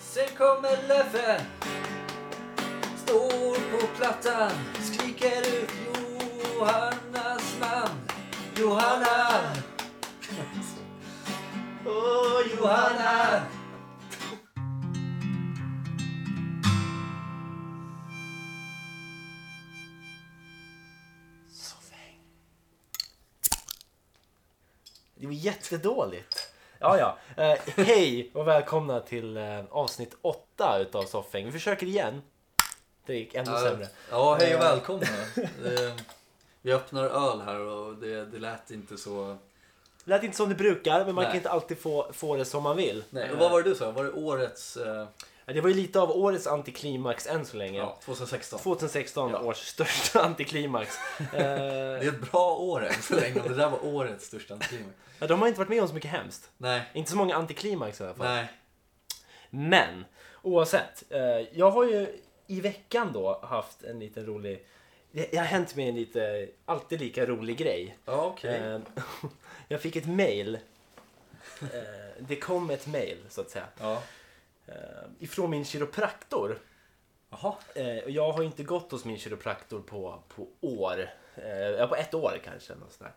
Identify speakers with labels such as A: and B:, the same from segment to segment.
A: Snart kommer Leffe. Står på plattan, skriker ut Johannas namn. Johanna,
B: Åh,
A: Johanna.
B: Det var jättedåligt. Ja, ja. Eh, hej och välkomna till eh, avsnitt åtta utav Soffhäng. Vi försöker igen. Det gick ännu sämre.
A: Ja, hej och välkomna. Eh, Vi öppnar öl här och det, det lät inte så...
B: Det lät inte som det brukar, men man
A: Nej.
B: kan inte alltid få, få det som man vill.
A: Nej,
B: Eh,
A: och vad var det du sa? Var det årets... eh,
B: Det var ju lite av årets antiklimax än så länge.
A: Ja, 2016.
B: 2016
A: Ja.
B: års största antiklimax.
A: Det är
B: Eh,
A: ett bra år än så länge och det där var årets största antiklimax.
B: ja, de har inte varit med om så mycket hemskt.
A: Nej,
B: Inte så många antiklimax i alla fall.
A: nej.
B: Men oavsett, eh, jag har ju i veckan då haft en liten rolig... Det det har hänt mig en lite, alltid lika rolig grej.
A: Ja, okej.
B: Eh, jag fick ett mail. Eh, det kom ett mail så att säga.
A: Ja.
B: Eh, ifrån min kiropraktor.
A: Jaha.
B: Eh, och jag har inte gått hos min kiropraktor på, på år. Eh, ja, på ett år kanske. Något sånt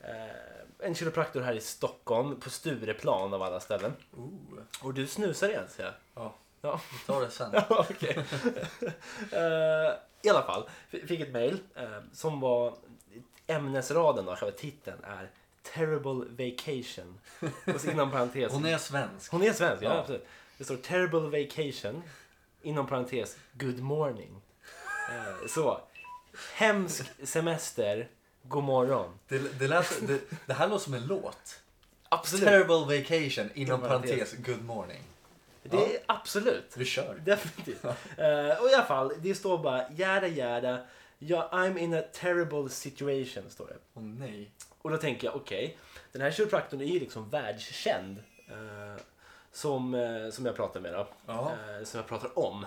B: där. Eh, en kiropraktor här i Stockholm på Stureplan av alla ställen.
A: Ooh.
B: Och du snusar igen ser jag.
A: Ja,
B: Ja.
A: vi tar det sen.
B: Ja, okej. Eh, I alla fall, f- fick ett mejl eh, som var ämnesraden, då, själva titeln är Terrible Vacation. Och så inom parentes.
A: Hon är svensk.
B: Hon är svensk, ja,
A: Ja.
B: absolut. Det står Terrible Vacation, inom parentes Good Morning. Eh, så, hemsk semester, god morgon.
A: Det, det, lät, det, det här låter som en låt.
B: Absolut.
A: Terrible vacation, inom
B: parentes.
A: parentes, good morning.
B: Det är absolut.
A: Vi kör.
B: Definitivt. Eh, och i alla fall, det står bara jäda jäda. Ja, I'm in a terrible situation, står det.
A: Åh nej.
B: Och då tänker jag, okej, den här kiropraktorn är ju liksom världskänd. eh, som, eh, som jag pratar med då.
A: Ja.
B: Eh, som jag pratar om.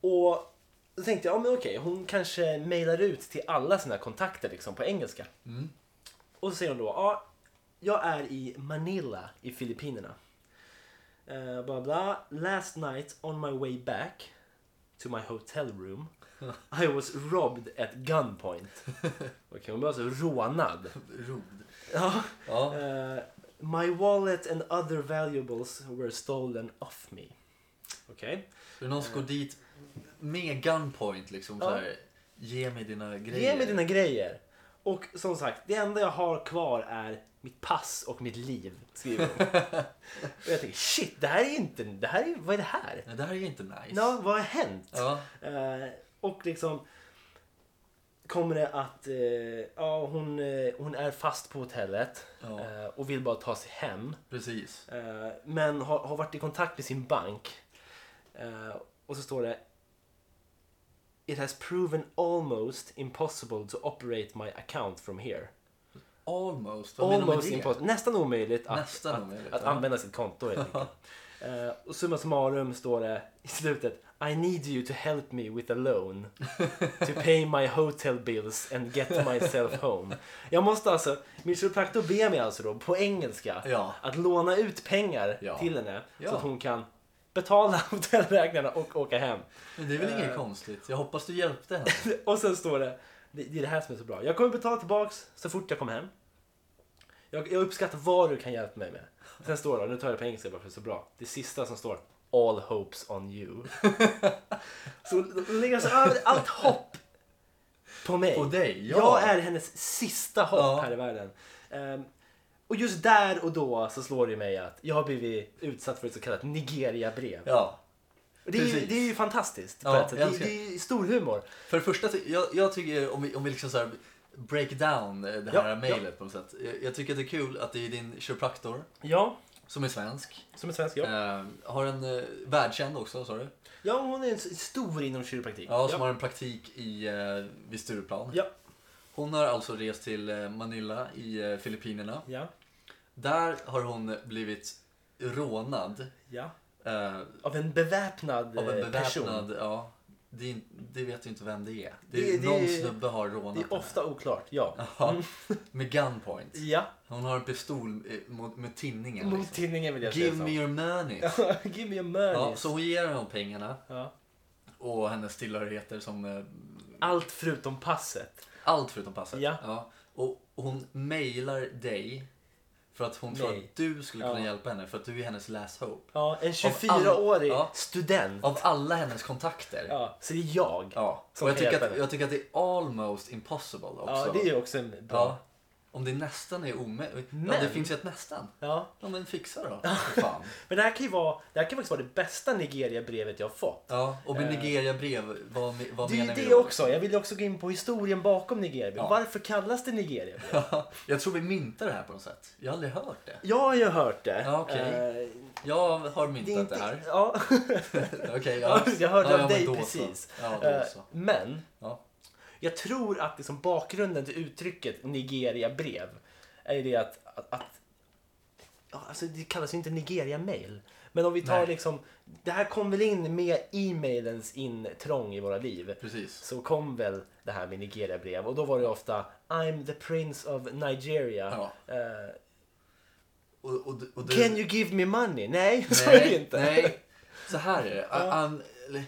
B: Och då tänkte jag, ja men okej, hon kanske mejlar ut till alla sina kontakter liksom på engelska. Och så säger hon då, ja, jag är i Manila i Filippinerna. Uh, bla bla. Last night on my way back to my hotel room I was robbed at gunpoint. Okej, hon blev alltså rånad.
A: Rod.
B: Ja.
A: Ja.
B: Eh, my wallet and other valuables were stolen off me. Okej.
A: Det är någon som går dit med gunpoint liksom
B: Eh. Ja.
A: så här. Ge mig dina grejer.
B: Ge mig dina grejer. Och som sagt, det enda jag har kvar är mitt pass och mitt liv, skriver hon. och jag tänker, shit, det här är inte, det här är, vad är det här?
A: Nej, det här är ju inte nice.
B: Ja, vad har hänt?
A: Ja.
B: Eh, och liksom kommer det att eh, ja, hon, eh, hon är fast på hotellet
A: Ja.
B: eh, och vill bara ta sig hem.
A: Precis.
B: Eh, men har, har varit i kontakt med sin bank. Eh, och så står det It has proven almost impossible to operate my account from here.
A: Almost. Vad
B: Almost
A: menar du med
B: impossible. Nästan omöjligt att,
A: Nästan
B: att,
A: omöjligt,
B: att
A: ja.
B: använda sitt konto helt enkelt. Eh, och summa summarum står det i slutet I need you to help me with a loan to pay my hotel bills and get myself home. Jag måste alltså, min kiropraktor ber mig alltså då på engelska
A: det? Ja.
B: att låna ut pengar
A: Ja.
B: till henne
A: Ja.
B: så att hon kan betala hotellräkningarna och åka hem.
A: Men det är väl
B: Eh.
A: inget konstigt. Jag hoppas du hjälpte henne.
B: Och sen står det, det det är det här som är så bra. Jag kommer betala tillbaks så fort jag kommer hem. Jag, jag uppskattar vad du kan hjälpa mig med. Sen står det, nu tar jag det på engelska bara för det är så bra. Det sista som står, all hopes on you. så de lägger alltså över allt hopp på mig.
A: På dig, ja.
B: Jag är hennes sista hopp
A: Ja.
B: här i världen. Ehm, och just där och då så slår det mig att jag har blivit utsatt för ett så kallat Nigeria-brev.
A: Ja.
B: Och det, är ju,
A: precis.
B: det är ju fantastiskt på
A: Ja,
B: ett sätt.
A: jag
B: Det,
A: älskar
B: det är stor humor.
A: För det första, ty- jag, jag tycker om vi, om vi liksom så här break down eh, det
B: Ja,
A: här mejlet på något sätt. Jag, jag tycker att det är kul att det är din kiropraktor
B: Ja,
A: som är svensk.
B: som en svensk, ja.
A: Eh, har en eh, världskänd också, sa du?
B: Ja, hon är en s- stor inom kiropraktik.
A: Ja, som har en praktik i, eh, vid Stureplan.
B: Ja.
A: Hon har alltså rest till eh, Manila i eh, Filippinerna.
B: ja,
A: Där har hon blivit rånad
B: ja.
A: eh,
B: Av en beväpnad,
A: av en
B: eh, person.
A: beväpnad ja, det, är in- det vet ju inte vem det är. Det,
B: Det- det-
A: någon snubbe har rånat
B: Det är ofta oklart, ja.
A: henne. Ja, med gunpoint.
B: Ja,
A: Hon har en pistol eh, mot, med tinningen.
B: mot
A: Liksom.
B: tinningen vill jag säga
A: Give
B: så.
A: me your money.
B: Give me a money.
A: Ja, så hon ger honom pengarna
B: Ja.
A: och hennes tillhörigheter som eh,
B: Allt förutom passet.
A: allt förutom passet.
B: Ja.
A: Och hon mejlar dig för att hon tror
B: Mig.
A: att du skulle kunna
B: Ja.
A: hjälpa henne för att du är hennes last hope.
B: Ja, en
A: all-
B: 24-årig
A: Ja.
B: student.
A: Av alla hennes kontakter.
B: Ja, så det är jag.
A: Ja.
B: Som
A: Och jag
B: kan hjälpa
A: tycker, att,
B: henne.
A: jag tycker att det är almost impossible också.
B: Ja, det är ju också en bra...
A: Ja. Om det nästan är omöjligt. Ja, det
B: Men-
A: finns ju ett nästan.
B: Ja.
A: Ja, men fixa då. För fan.
B: Men det här kan ju vara, det här kan faktiskt vara det bästa Nigeria-brevet jag har fått.
A: Ja, och med
B: Eh.
A: Nigeria-brev, vad, me- vad
B: Det är
A: menar
B: ju
A: vi
B: det
A: då?
B: också. Jag vill ju också gå in på historien bakom Nigeria.
A: Ja.
B: Varför kallas det Nigeria?
A: Ja, jag tror vi myntar det här på något sätt. Jag har aldrig hört det.
B: Jag har ju hört det.
A: Ja, okej.
B: Eh,
A: Jag har
B: det är
A: myntat
B: inte...
A: det här.
B: Ja,
A: Okej, ja.
B: jag hörde
A: ja,
B: av
A: ja, men
B: dig
A: då så.
B: precis.
A: Ja, då
B: Eh,
A: så.
B: Men
A: Ja.
B: jag tror att liksom bakgrunden till uttrycket Nigeria-brev är ju det att, att, att ja, alltså det kallas ju inte Nigeria-mail. Men om vi tar
A: Nej.
B: liksom, det här kom väl in med e-mailens intrång i våra liv.
A: Precis.
B: så kom väl det här med Nigeria-brev och då var det ofta I'm the prince of Nigeria.
A: Ja.
B: Eh,
A: Och, och, och du...
B: can you give me money? Nej, så är det
A: nej,
B: inte.
A: nej, så här är det. An, eller,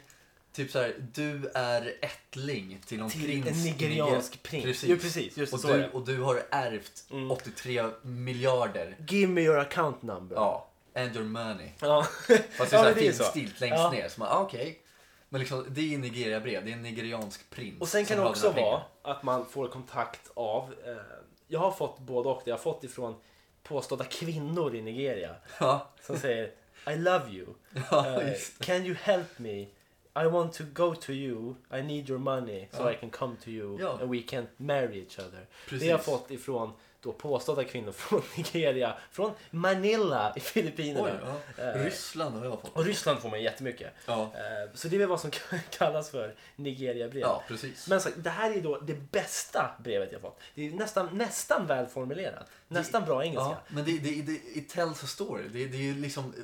A: typ så här, du är ättling till någon
B: Till
A: prins.
B: en
A: i
B: nigeriansk
A: Nigeria.
B: prins.
A: Precis.
B: Jo, precis. Just det,
A: och,
B: så är
A: du,
B: det.
A: och du har ärvt
B: Mm.
A: 83 miljarder.
B: Give me your account number.
A: Ja, and your money.
B: Ja.
A: Fast det är
B: Ja,
A: så här
B: men det är
A: fint
B: så.
A: stilt längst
B: Ja.
A: ner. Så man, ah, okej. Men liksom, det är Nigeria-brev. Det är en nigeriansk prins.
B: Och sen
A: som
B: kan det
A: har
B: också
A: dina pengar.
B: vara att man får kontakt av, eh, jag har fått både och, det. jag har fått ifrån påstådda kvinnor i Nigeria
A: Ja,
B: som säger I love you.
A: ja
B: Eh,
A: just
B: can you help me? I want to go to you. I need your money so
A: Ja.
B: I can come to you
A: Ja.
B: and we can marry each other. Det
A: Precis.
B: har jag fått ifrån då påstådda kvinnor från Nigeria, från Manila i Filippinerna.
A: Oj, ja.
B: Eh,
A: Ryssland har jag fått.
B: Och Ryssland får man jättemycket.
A: Ja,
B: Eh, Så det är väl vad som kallas för Nigeria-brev.
A: ja precis.
B: Men så, det här är då det bästa brevet jag fått. Det är nästan, nästan välformulerat. Nästan bra engelska.
A: Ja, men det, det, det it tells a story. Det, det är ju liksom eh,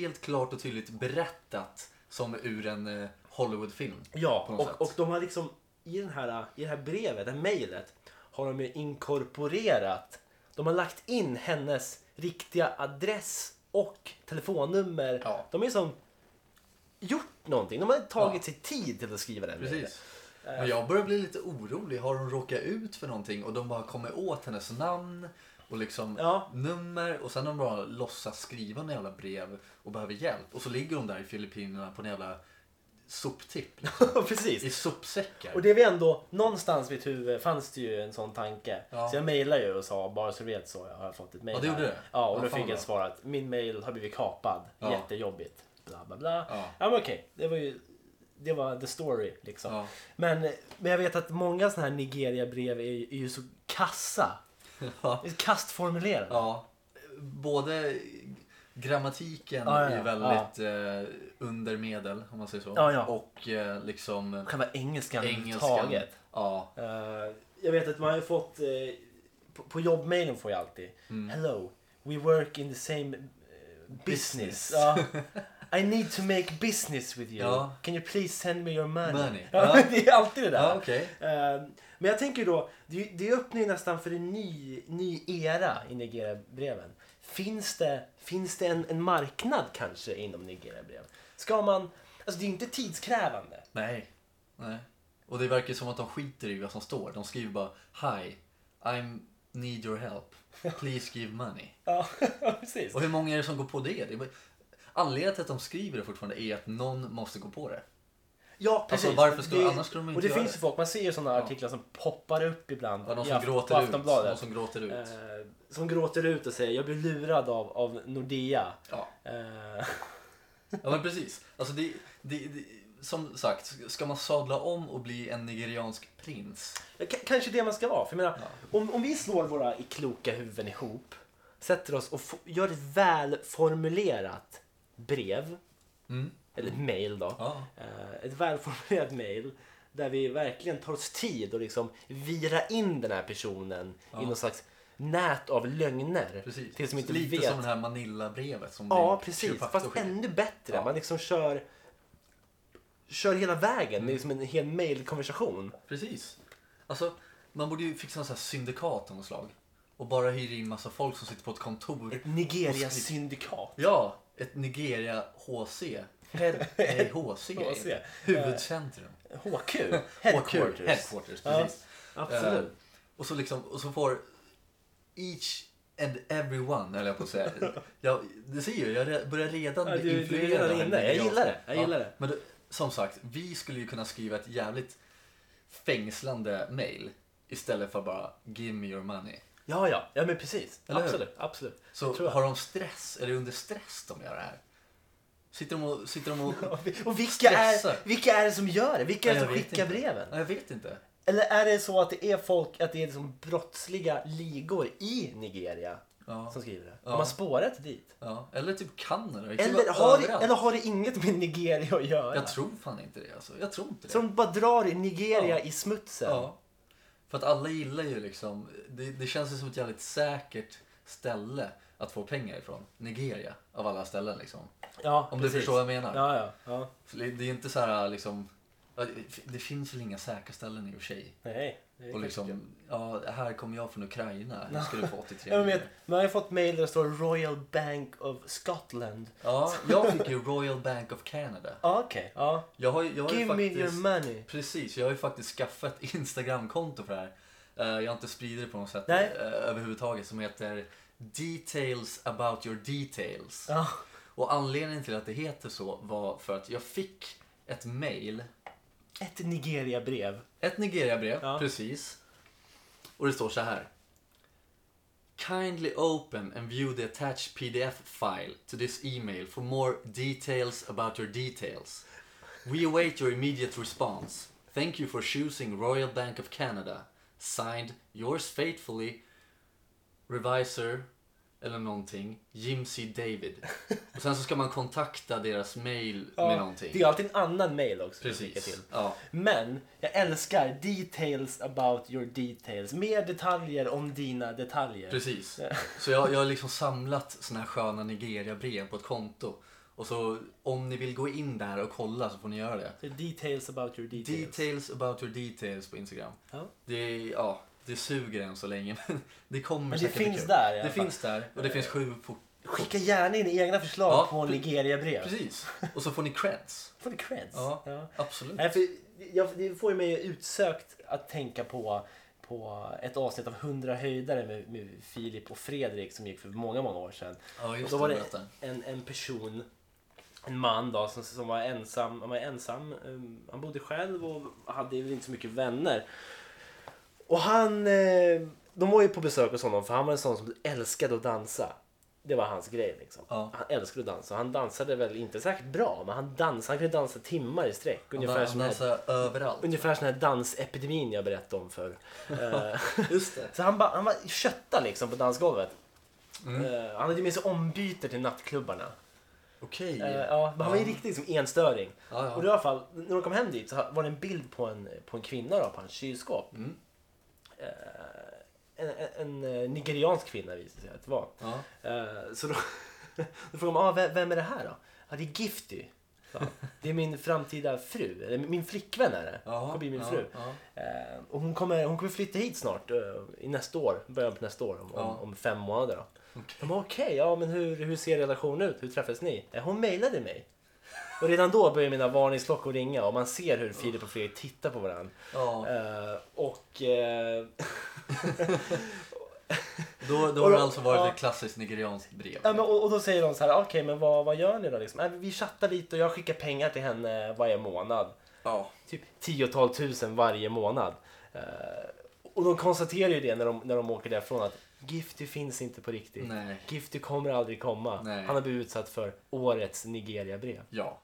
A: helt klart och tydligt berättat som ur en eh, Hollywoodfilm.
B: Ja,
A: på något sätt.
B: och, och de har liksom i, den här, i det här brevet, det här mejlet, har de ju inkorporerat. De har lagt in hennes riktiga adress och telefonnummer.
A: Ja.
B: De har liksom gjort någonting. De har tagit
A: Ja.
B: sig tid till att skriva den mejlet.
A: Precis.
B: Eh,
A: Men jag börjar bli lite orolig. Har hon råkat ut för någonting och de bara kommer åt hennes namn och liksom
B: Ja.
A: nummer och sen de bara låtsas skriva en jävla brev och behöver hjälp. Och så ligger hon där i Filippinerna på en jävla soptipp. liksom. I
B: Precis.
A: sopsäckar.
B: Och det är vi ändå, någonstans i mitt huvud fanns det ju en sån tanke.
A: Ja.
B: Så jag mejlade ju och sa, bara så du vet så har jag fått ett mejl.
A: Ja, det
B: här."
A: gjorde du?
B: Ja, och
A: Ja,
B: då
A: fan
B: fick
A: bra.
B: jag svar att min mejl har blivit kapad.
A: Ja.
B: Jättejobbigt. Bla bla bla.
A: Ja.
B: Ja men okej, det var ju det var the story liksom.
A: Ja.
B: Men, men jag vet att många sådana här Nigeria-brev är, ju- är ju så kassa.
A: Ja.
B: Det är Kastformulerade.
A: Ja, Eh, både grammatiken
B: Ja, ja, ja.
A: är väldigt eh, under medel om man säger så.
B: Ja, ja.
A: Och eh, liksom
B: Själva engelskan
A: engelskan.
B: överhuvudtaget.
A: Ja,
B: Eh, jag vet att man har ju fått, eh, på, på jobbmailen får jag alltid
A: Mm.
B: Hello, we work in the same eh,
A: Business.
B: business. Ja. I need to make business with you.
A: Ja.
B: Can you please send me your money?
A: Money.
B: Ja,
A: Ja.
B: det är alltid det där.
A: ja okej.
B: Eh, Men jag tänker då, det, det öppnar ju nästan för en ny, ny era i Nigeria-breven. Finns det, finns det en, en marknad kanske inom Nigeria-brev? Ska man... Alltså det är ju inte tidskrävande.
A: Nej. Nej. Och det verkar som att de skiter i vad som står. De skriver bara Hi, I need your help. Please give money.
B: Ja, precis.
A: Och hur många är det som går på det? det är bara... Anledningen till att de skriver det fortfarande är att någon måste gå på det.
B: Ja, precis.
A: Alltså, varför skulle-
B: det,
A: annars skulle de inte
B: Och det
A: göra
B: finns
A: det.
B: ju folk, man ser ju sådana artiklar som poppar upp ibland.
A: Det är någon
B: i
A: som
B: Aft-
A: gråter
B: på
A: ut. Någon
B: Aftonbladet.
A: som gråter ut.
B: eh, som gråter ut och säger jag blev lurad av, av Nordea.
A: Ja.
B: Eh,
A: Ja men precis. Alltså det, det, det, som sagt, ska man sadla om och bli en nigeriansk prins?
B: Ja, k- kanske det man ska vara. För jag menar, om, om vi slår våra kloka huvuden ihop, sätter oss och fo- gör ett välformulerat brev,
A: Mm.
B: eller mail då.
A: Ja.
B: Eh, Ett välformulerat mail där vi verkligen tar oss tid och liksom vira in den här personen i någon slags nät av lögner.
A: Precis.
B: Tills man inte
A: Lite
B: vet.
A: som det här Manilla-brevet som
B: Ja,
A: din
B: precis.
A: kiropraktor
B: Fast
A: skickade.
B: ännu bättre.
A: Ja.
B: Man liksom kör liksom kör hela vägen. Det är som en hel mailkonversation.
A: Precis. Alltså, man borde ju fixa en sån här syndikat av något slag. Och bara hyra in massa folk som sitter på ett kontor.
B: Ett Nigeria-syndikat.
A: Ja, ett Nigeria HC. Head, nej, HC.
B: HC.
A: Huvudcentrum.
B: HQ.
A: HQ,
B: Headquarters.
A: Headquarters,
B: Ja,
A: precis.
B: Absolut.
A: Eh, och, så liksom, och så får each and everyone, höll jag på att säga. jag, det ser ju, jag re- börjar redan
B: Ja, du-
A: bli
B: du är
A: influerad
B: redan
A: av den
B: inne. Jag
A: nigerianska.
B: gillar det, jag gillar det.
A: Men det, som sagt, vi skulle ju kunna skriva ett jävligt fängslande mail istället för bara give me your money.
B: Ja, ja. Ja, men precis.
A: Eller hur?
B: absolut. Absolut.
A: Så
B: Tror jag.
A: har de stress, är det under stress de gör det här? Sitter de och... Sitter de och
B: Och vilka
A: Stressar.
B: är, vilka är det som gör det? Vilka är det
A: Nej,
B: som
A: jag vet
B: skickar
A: inte.
B: breven?
A: Nej, jag vet inte.
B: Eller är det så att det är folk, att det är liksom brottsliga ligor i Nigeria
A: Ja.
B: som skriver det?
A: Ja.
B: De har spårat dit.
A: Ja. Eller typ Kanada. Det kan ju
B: Eller
A: vara
B: har, det,
A: överallt.
B: eller har det inget med Nigeria att göra?
A: Jag tror fan inte det alltså. Jag tror inte det.
B: Så de bara drar i Nigeria
A: Ja.
B: i smutsen?
A: Ja. För att alla gillar ju liksom, det, det känns ju som ett jävligt säkert ställe att få pengar ifrån. Nigeria, av alla ställen liksom.
B: Ja,
A: Om
B: precis.
A: du förstår vad jag menar.
B: Ja, ja. ja.
A: För det, det är inte så här liksom, ja, det- det finns väl inga säkra ställen i och för sig.
B: Nej. det är
A: Och
B: kanske inte.
A: liksom, ja, här kommer jag från Ukraina, nu ska du få 83
B: Jag vet,
A: miljoner.
B: man har ju fått mail där det står Royal Bank of Scotland.
A: Ja, jag fick ju Royal Bank of Canada.
B: Ja, okej. Ja.
A: Jag har, ju- jag har ju
B: Give
A: faktiskt...
B: me your money.
A: Precis, jag har ju faktiskt skaffat ett Instagramkonto för det här. Eh, Jag har inte spridit det på något sätt
B: Nej.
A: eh, överhuvudtaget som heter Details about your details.
B: Ja.
A: Och anledningen till att det heter så var för att jag fick ett mail,
B: Ett Nigeria-brev.
A: ett Nigeria-brev,
B: Ja.
A: precis. Och det står så här. Kindly open and view the attached PDF file to this email for more details about your details. We await your immediate response. Thank you for choosing Royal Bank of Canada. Signed, yours faithfully, revisor eller någonting, Jim C. David. Och sen så ska man kontakta deras mail med någonting.
B: Det är alltid en annan mail också. som jag skickar
A: Precis.
B: Till.
A: Ja.
B: Men jag älskar details about your details. Mer detaljer om dina detaljer.
A: Precis. Så jag, jag har liksom samlat såna här sköna Nigeria-brev på ett konto. Och så om ni vill gå in där och kolla så får ni göra det.
B: Så Details about your details.
A: Details about your details på Instagram.
B: ja.
A: Det, är- ja, det suger än så länge men det kommer
B: Men det
A: säkert bli
B: finns
A: kul.
B: där i alla
A: Det
B: fall.
A: finns där och det finns sju fort.
B: Skicka gärna in egna förslag
A: Ja,
B: på
A: pre-
B: Nigeria-brev.
A: Precis. Och så får ni creds.
B: Får ni creds?
A: Ja,
B: Ja.
A: absolut.
B: Nej, för jag, det får ju mig utsökt att tänka på, på ett avsnitt av 100 höjdare med, med Filip och Fredrik som gick för många, många år sedan.
A: Ja,
B: Och
A: just
B: då
A: det.
B: var
A: berätta.
B: det en, en person, en man då, som, som var ensam. Han var ensam. eh, Han bodde själv och hade väl inte så mycket vänner. Och han... eh, De var ju på besök hos honom för han var en sån som älskade att dansa. Det var hans grej liksom.
A: Ja.
B: Han älskade att dansa. Han dansade väl inte säkert bra men han dansade. Han kunde dansa timmar i sträck. Ungefär
A: Ungefär
B: som den här
A: Dansa överallt.
B: Ungefär sån här dansepidemin jag berättade om för. eh,
A: Just det.
B: Så han, ba, han var kötta liksom på dansgolvet.
A: Mm.
B: Eh, han hade ju med sig ombyter till nattklubbarna.
A: Okej.
B: Eh, ja, men han var ju riktigt liksom enstöring.
A: Ja, ja.
B: Och då i alla fall, när de kom hem dit så var det en bild på en, på en kvinna då, på hans kylskåp.
A: Mm.
B: Eh, en, en, en eh, nigeriansk kvinna visade det sig att det var.
A: Ja.
B: Eh, så då, då frågade de, ah, vem, vem är det här då? Ja, det är Gifty. sa han. Det är min framtida fru, eller min flickvän är det.
A: Ja,
B: Hon blir min
A: ja,
B: fru.
A: ja.
B: Eh, och hon kommer, hon kommer flytta hit snart, eh, i nästa år, början på nästa år, om, om,
A: Ja.
B: om fem månader. Då.
A: Okej.
B: De bara, okej, ja men hur, hur ser relationen ut? Hur träffades ni? Eh, hon mejlade mig. Och redan då börjar mina varningsklockor ringa och man ser hur Filip och Fredrik tittar på varandra.
A: Ja.
B: Eh, och... eh,
A: Då, då
B: Och
A: har
B: då-
A: det alltså varit
B: ja.
A: ett klassiskt nigerianskt brev.
B: Ja, men, och, och då säger de så här, okej men vad, vad gör ni då? Liksom? "Äh, vi chattar lite och jag skickar pengar till henne varje månad.
A: Ja.
B: Typ tiotal tusen varje månad. Eh, och de konstaterar ju det när de, när de åker därifrån att Gifty finns inte på riktigt.
A: Nej.
B: Gifty kommer aldrig komma.
A: Nej.
B: Han har blivit utsatt för årets Nigeria-brev.
A: Ja.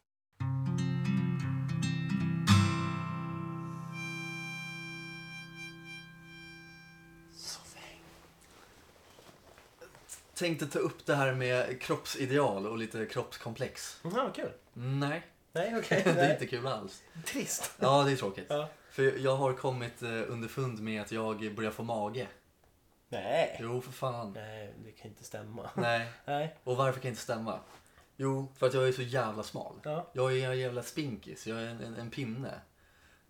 A: Tänkte ta upp det här med kroppsideal och lite kroppskomplex.
B: Mm, Ja, vad kul.
A: Nej,
B: Nej, okej.
A: det är
B: Nej.
A: inte kul alls.
B: Trist.
A: Ja, det är tråkigt.
B: Ja.
A: För jag har kommit eh, underfund med att jag börjar få mage.
B: Nej.
A: Jo, för fan.
B: Nej, det kan inte stämma.
A: Nej,
B: Nej.
A: och varför kan det inte stämma? Jo, för att jag är så jävla smal.
B: Ja.
A: Jag är en jävla spinkis, jag är en, en, en pinne.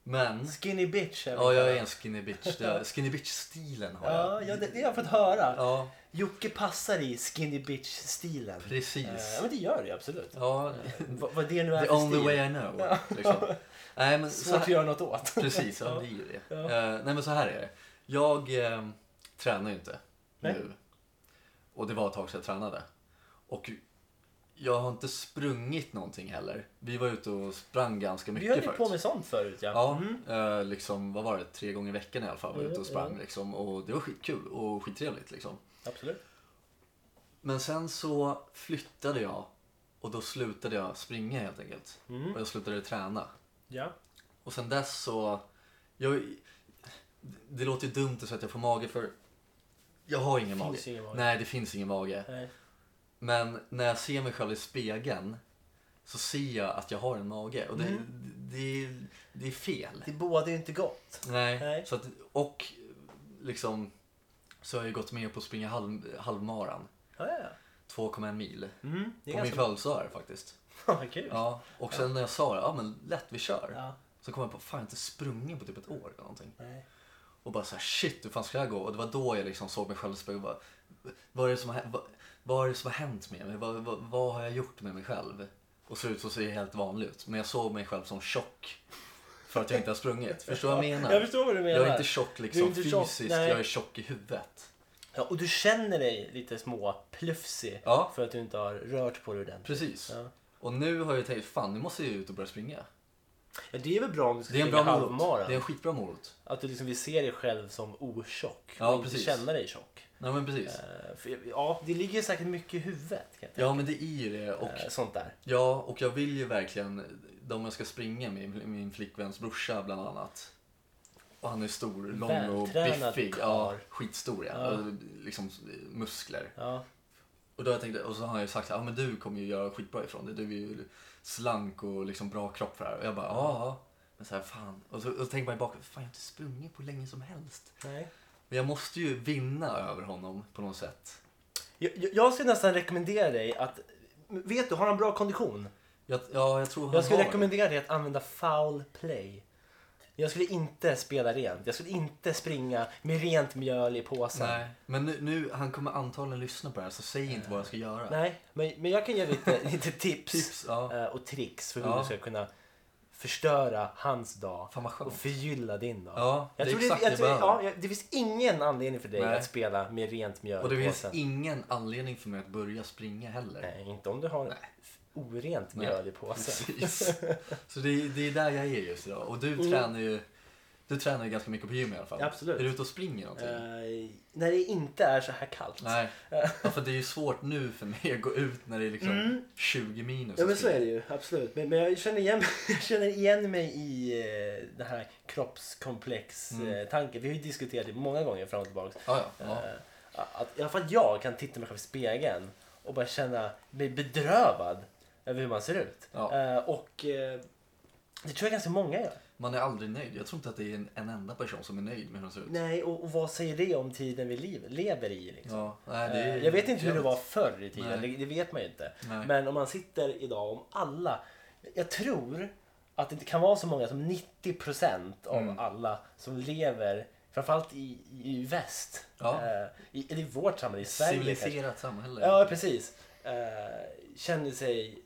A: Men,
B: Skinny bitch är vi
A: ja jag
B: kallade.
A: är en skinny bitch. Det är, skinny bitch-stilen har
B: Ja,
A: jag.
B: ja det, det har jag fått höra.
A: Ja,
B: Jocke passar i skinny bitch-stilen. Eh, Ja,
A: precis.
B: men det gör det ju absolut.
A: Ja,
B: Vad, vad det nu är
A: the
B: för
A: only
B: stil.
A: way I know. Liksom. Nej, men så
B: Svårt att
A: här,
B: göra något åt.
A: precis, ja,
B: Ja.
A: det är ju det.
B: Ja.
A: Eh, nej men så här är det. Jag eh, tränar ju inte
B: Nej.
A: nu. Och det var ett tag sedan jag tränade. Och jag har inte sprungit någonting heller. Vi var ute och sprang ganska
B: Vi
A: mycket
B: höll ju
A: förut.
B: på med Mm. sånt förut ja.
A: Ja, eh, liksom, vad var det? Tre gånger i veckan i alla fall var jag ute och
B: Mm,
A: sprang. Liksom, och det var skitkul och skittrevligt. Liksom.
B: Absolut.
A: Men sen så flyttade jag och då slutade jag springa helt enkelt.
B: Mm.
A: Och jag slutade träna.
B: Ja.
A: Och sen dess så... Jag, det låter ju dumt att säga att jag får mage för jag har ingen
B: Finns
A: mage.
B: ingen mage.
A: Nej, det finns ingen mage.
B: Nej.
A: Men när jag ser mig själv i spegeln så ser jag att jag har en mage. Och det,
B: Mm.
A: det, det, är fel.
B: Det bådar ju inte gott.
A: Nej.
B: Nej.
A: Så att, och liksom så har jag ju gått med på att springa halv, halvmaran.
B: Ja, ja.
A: 2,1 mil.
B: Mm. Det är
A: På min
B: ganska...
A: födelsedag är det faktiskt.
B: Fan vad kul.
A: Ja, och sen när jag sa det, ja men lätt vi kör.
B: Ja.
A: Så kom jag på, fan jag har inte sprungit på typ ett år eller någonting.
B: Nej.
A: Och bara så här, shit hur fan ska det här gå? Och det var då jag liksom såg mig själv i spegeln och bara, vad är det som har, vad, vad är det som har hänt med mig? Vad, vad, vad har jag gjort med mig själv? Och så ut så ser jag helt vanlig ut. Men jag såg mig själv som tjock. För att jag inte har sprungit. Förstår du vad jag menar?
B: Jag förstår vad du menar.
A: Jag är inte tjock liksom
B: inte tjock,
A: fysiskt,
B: nej.
A: jag är tjock i huvudet.
B: ja, och du känner dig lite små plufsig
A: Ja.
B: för att du inte har rört på dig ordentligt.
A: Precis.
B: Ja.
A: Och nu har jag tänkt, fan nu måste jag ut och börja springa.
B: Ja, det är väl bra om du ska
A: Det är en
B: springa
A: bra morot.
B: halvmaran.
A: Det är en skitbra morot.
B: Att du liksom vill se dig själv som otjock
A: Ja,
B: och inte
A: precis.
B: känna dig tjock.
A: Nej men precis.
B: Eh, för, ja, det ligger säkert mycket i huvudet. Kan jag tänka.
A: Ja men det är ju det. Och,
B: Eh, sånt där.
A: ja, och jag vill ju verkligen, de jag ska springa med, min flickväns brorsa bland annat. Och han är stor, lång och
B: Vältränad
A: biffig.
B: karl.
A: Ja, skitstor ja.
B: Ja.
A: Och Liksom muskler.
B: Ja,
A: Och då har jag tänkt, och så har jag ju sagt så här, ja men du kommer ju göra skitbra ifrån det. Du är ju slank och liksom bra kropp för det här. Och jag bara, ja. ja. Men så här, fan. Och så, och så tänker man ju bakåt, fan jag har inte sprungit på länge som helst.
B: nej.
A: Men jag måste ju vinna över honom på något sätt.
B: Jag, jag- jag skulle nästan rekommendera dig att... Vet du, har han bra kondition?
A: Jag, ja, jag tror han
B: Jag skulle
A: har det.
B: rekommendera dig att använda foul play. Jag skulle inte spela rent. Jag skulle inte springa med rent mjöl i påsen.
A: Nej, men nu, nu, han kommer antagligen lyssna på det här så säg inte vad jag ska göra.
B: Nej, men, men jag kan ge lite, lite tips,
A: Tips, ja.
B: eh, och tricks för hur
A: Ja.
B: du ska kunna förstöra hans dag
A: Fan vad
B: och
A: skönt.
B: förgylla din dag.
A: Ja, det
B: jag
A: är
B: tror
A: exakt
B: det,
A: det
B: jag tror,
A: jag
B: ja,
A: behöver.
B: jag- det finns ingen anledning för dig
A: Nej.
B: att spela med rent mjöl
A: Och det
B: i
A: finns
B: påsen.
A: ingen anledning för mig att börja springa heller.
B: Nej, inte om du har orent
A: Nej,
B: mjöl i påsen.
A: Precis. Så det, är- det är där jag är just idag. Och du tränar ju du tränar ju ganska mycket på gym i alla fall.
B: Mm. Absolut.
A: Är du ute och springer någonting?
B: Eh, när det inte är så här kallt.
A: Nej, ja, för det är ju svårt nu för mig att gå ut när det är liksom 20 minus.
B: Mm. Ja
A: och
B: men så
A: springa.
B: är det ju, absolut. Men, men jag, känner igen, jag känner igen mig i eh, den här kroppskomplex-tanken. Vi har ju diskuterat det många gånger fram och tillbaka.
A: Mm. Ja, ja, ja.
B: Eh, Att, I alla fall jag kan titta mig själv i spegeln och bara känna mig bedrövad över hur man ser ut.
A: Ja.
B: Eh, Och eh, det tror jag ganska många gör.
A: Man är aldrig nöjd. Jag tror inte att det är en, en enda person som är nöjd med hur de ser ut.
B: Nej, och, och vad säger det om tiden vi liv, lever i? Liksom?
A: Ja, nej, det är
B: Eh, Jag vet inte hur det var förr i tiden, det,
A: Nej.
B: det vet man ju inte.
A: Nej.
B: Men om man sitter idag, om alla... Jag tror att det inte kan vara så många som 90% av
A: Mm.
B: alla som lever, framförallt i, i väst,
A: Ja.
B: eh, i, eller i vårt samhälle, i Sverige kanske.
A: Civiliserat samhälle.
B: Ja, precis. Eh, känner sig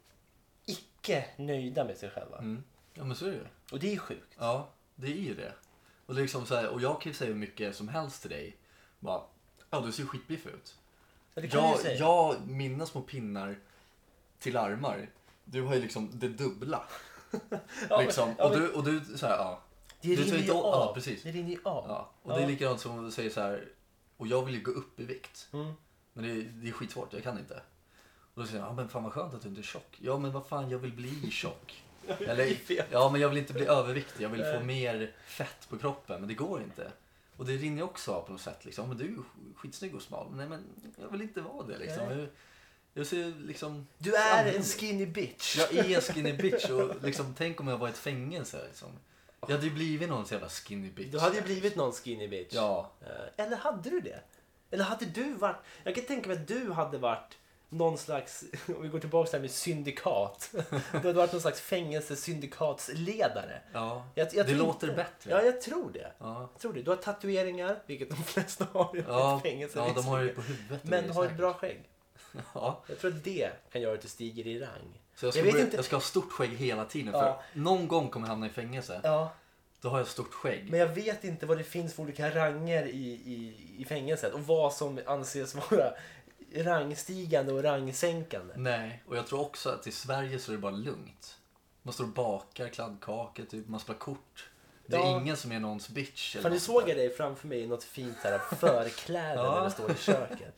B: icke nöjda med sig själva.
A: Mm. Ja men så är det ju.
B: Och det är sjukt.
A: Ja, det är ju det. Och, det är liksom så här, och jag kan ju säga hur mycket som helst till dig. Bara, ja du ser ju skitbiff ut.
B: Ja, Det kan du ju
A: Jag,
B: säga.
A: jag, mina små pinnar till armar, du har ju liksom det dubbla.
B: Ja, men-
A: liksom.
B: ja,
A: och,
B: men
A: du, och du så här, ja.
B: det
A: du
B: rinner ju
A: å-
B: av.
A: Ja, precis.
B: Det rinner ju av.
A: Ja. Och det är likadant som du säger så här, och jag vill ju gå upp i vikt.
B: Mm.
A: Men det är, det är skitsvårt, jag kan inte. Och då säger jag, ja men fan vad skönt att du inte är tjock. Ja men vad fan, jag vill bli tjock. Eller, ja men jag vill inte bli överviktig, jag vill få mer fett på kroppen. Men det går inte. Och det rinner ju också av på något sätt. Liksom. Men du är ju skitsnygg och smal. Nej men jag vill inte vara det liksom.
B: Nej.
A: Jag, jag ser liksom...
B: Du är en skinny bitch.
A: Jag är en skinny bitch och liksom, tänk om jag var i ett fängelse. Liksom. Jag hade ju blivit någon jävla skinny bitch.
B: Du hade ju blivit någon skinny bitch.
A: Ja.
B: Eh, Eller hade du det? Eller hade du varit... Jag kan tänka mig att du hade varit någon slags, om vi går tillbaka till det här med syndikat. Det hade varit någon slags fängelsesyndikatsledare.
A: Ja.
B: Jag, jag
A: Det
B: tror
A: låter
B: inte-
A: bättre.
B: Ja, jag tror det.
A: Ja.
B: Jag tror det. Du har tatueringar, vilket de flesta har i
A: Ja,
B: fängelse.
A: ja, de har ju
B: visserligen.
A: på huvudet. och
B: Men
A: grejer
B: har ett
A: säkert.
B: bra skägg.
A: Ja.
B: Jag tror att det kan göra att du stiger i rang.
A: Så jag ska,
B: Jag vet
A: börja,
B: inte-
A: jag ska ha stort skägg hela tiden.
B: Ja.
A: För någon gång kommer jag hamna i fängelse.
B: Ja,
A: Då har jag stort skägg.
B: men jag vet inte vad det finns för olika ranger i, i, i fängelset och vad som anses vara rangstigande och rangsänkande.
A: Nej, och jag tror också att i Sverige så är det bara lugnt. Man står och bakar kladdkakor, typ. man spelar kort. Det är
B: Ja.
A: ingen som är någons bitch. Eller
B: Fan, nu
A: något
B: såg
A: sånt där.
B: jag dig framför mig i något fint så här förkläde
A: Ja.
B: när du står i köket.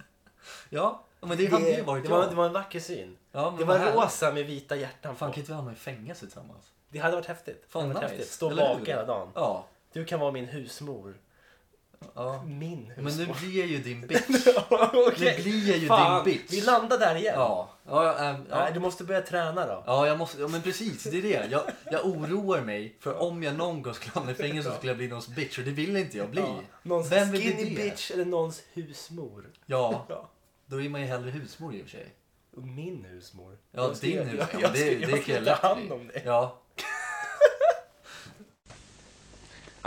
A: Ja, men det hade ju varit
B: det, var,
A: jag.
B: det var en vacker syn.
A: Ja, men
B: det var
A: vad härligt.
B: rosa med vita hjärtan
A: Fan,
B: på.
A: kan inte vi hamna i fängelse tillsammans?
B: Det hade varit häftigt. Det
A: Fan,
B: hade varit
A: nice.
B: häftigt. Stå och
A: Eller hur?
B: baka hela dagen.
A: Ja.
B: Du kan vara min husmor.
A: ja.
B: Min
A: Men nu
B: husmor.
A: blir jag ju din bitch.
B: Okej.
A: Nu blir jag ju
B: Fan,
A: din bitch.
B: Vi landar där igen.
A: Ja, ja, ja, ähm, ja.
B: Nej, du måste börja träna då.
A: Ja, jag måste, ja, men precis. Det är det. Jag, jag oroar mig för om jag någon gång skulle hamna i fängelse så skulle jag bli någons bitch och det vill inte jag bli.
B: Ja. Någons
A: Vem vill bli
B: skinny
A: det?
B: bitch eller någons husmor.
A: Ja,
B: Ja.
A: då är man ju hellre husmor i och för sig.
B: Och Min husmor.
A: Ja,
B: Jag ska-
A: din
B: jag-
A: husmor. Ja,
B: jag
A: det,
B: ska-
A: det kan jag
B: ska
A: lätt
B: ta
A: bli.
B: hand om dig.
A: Ja.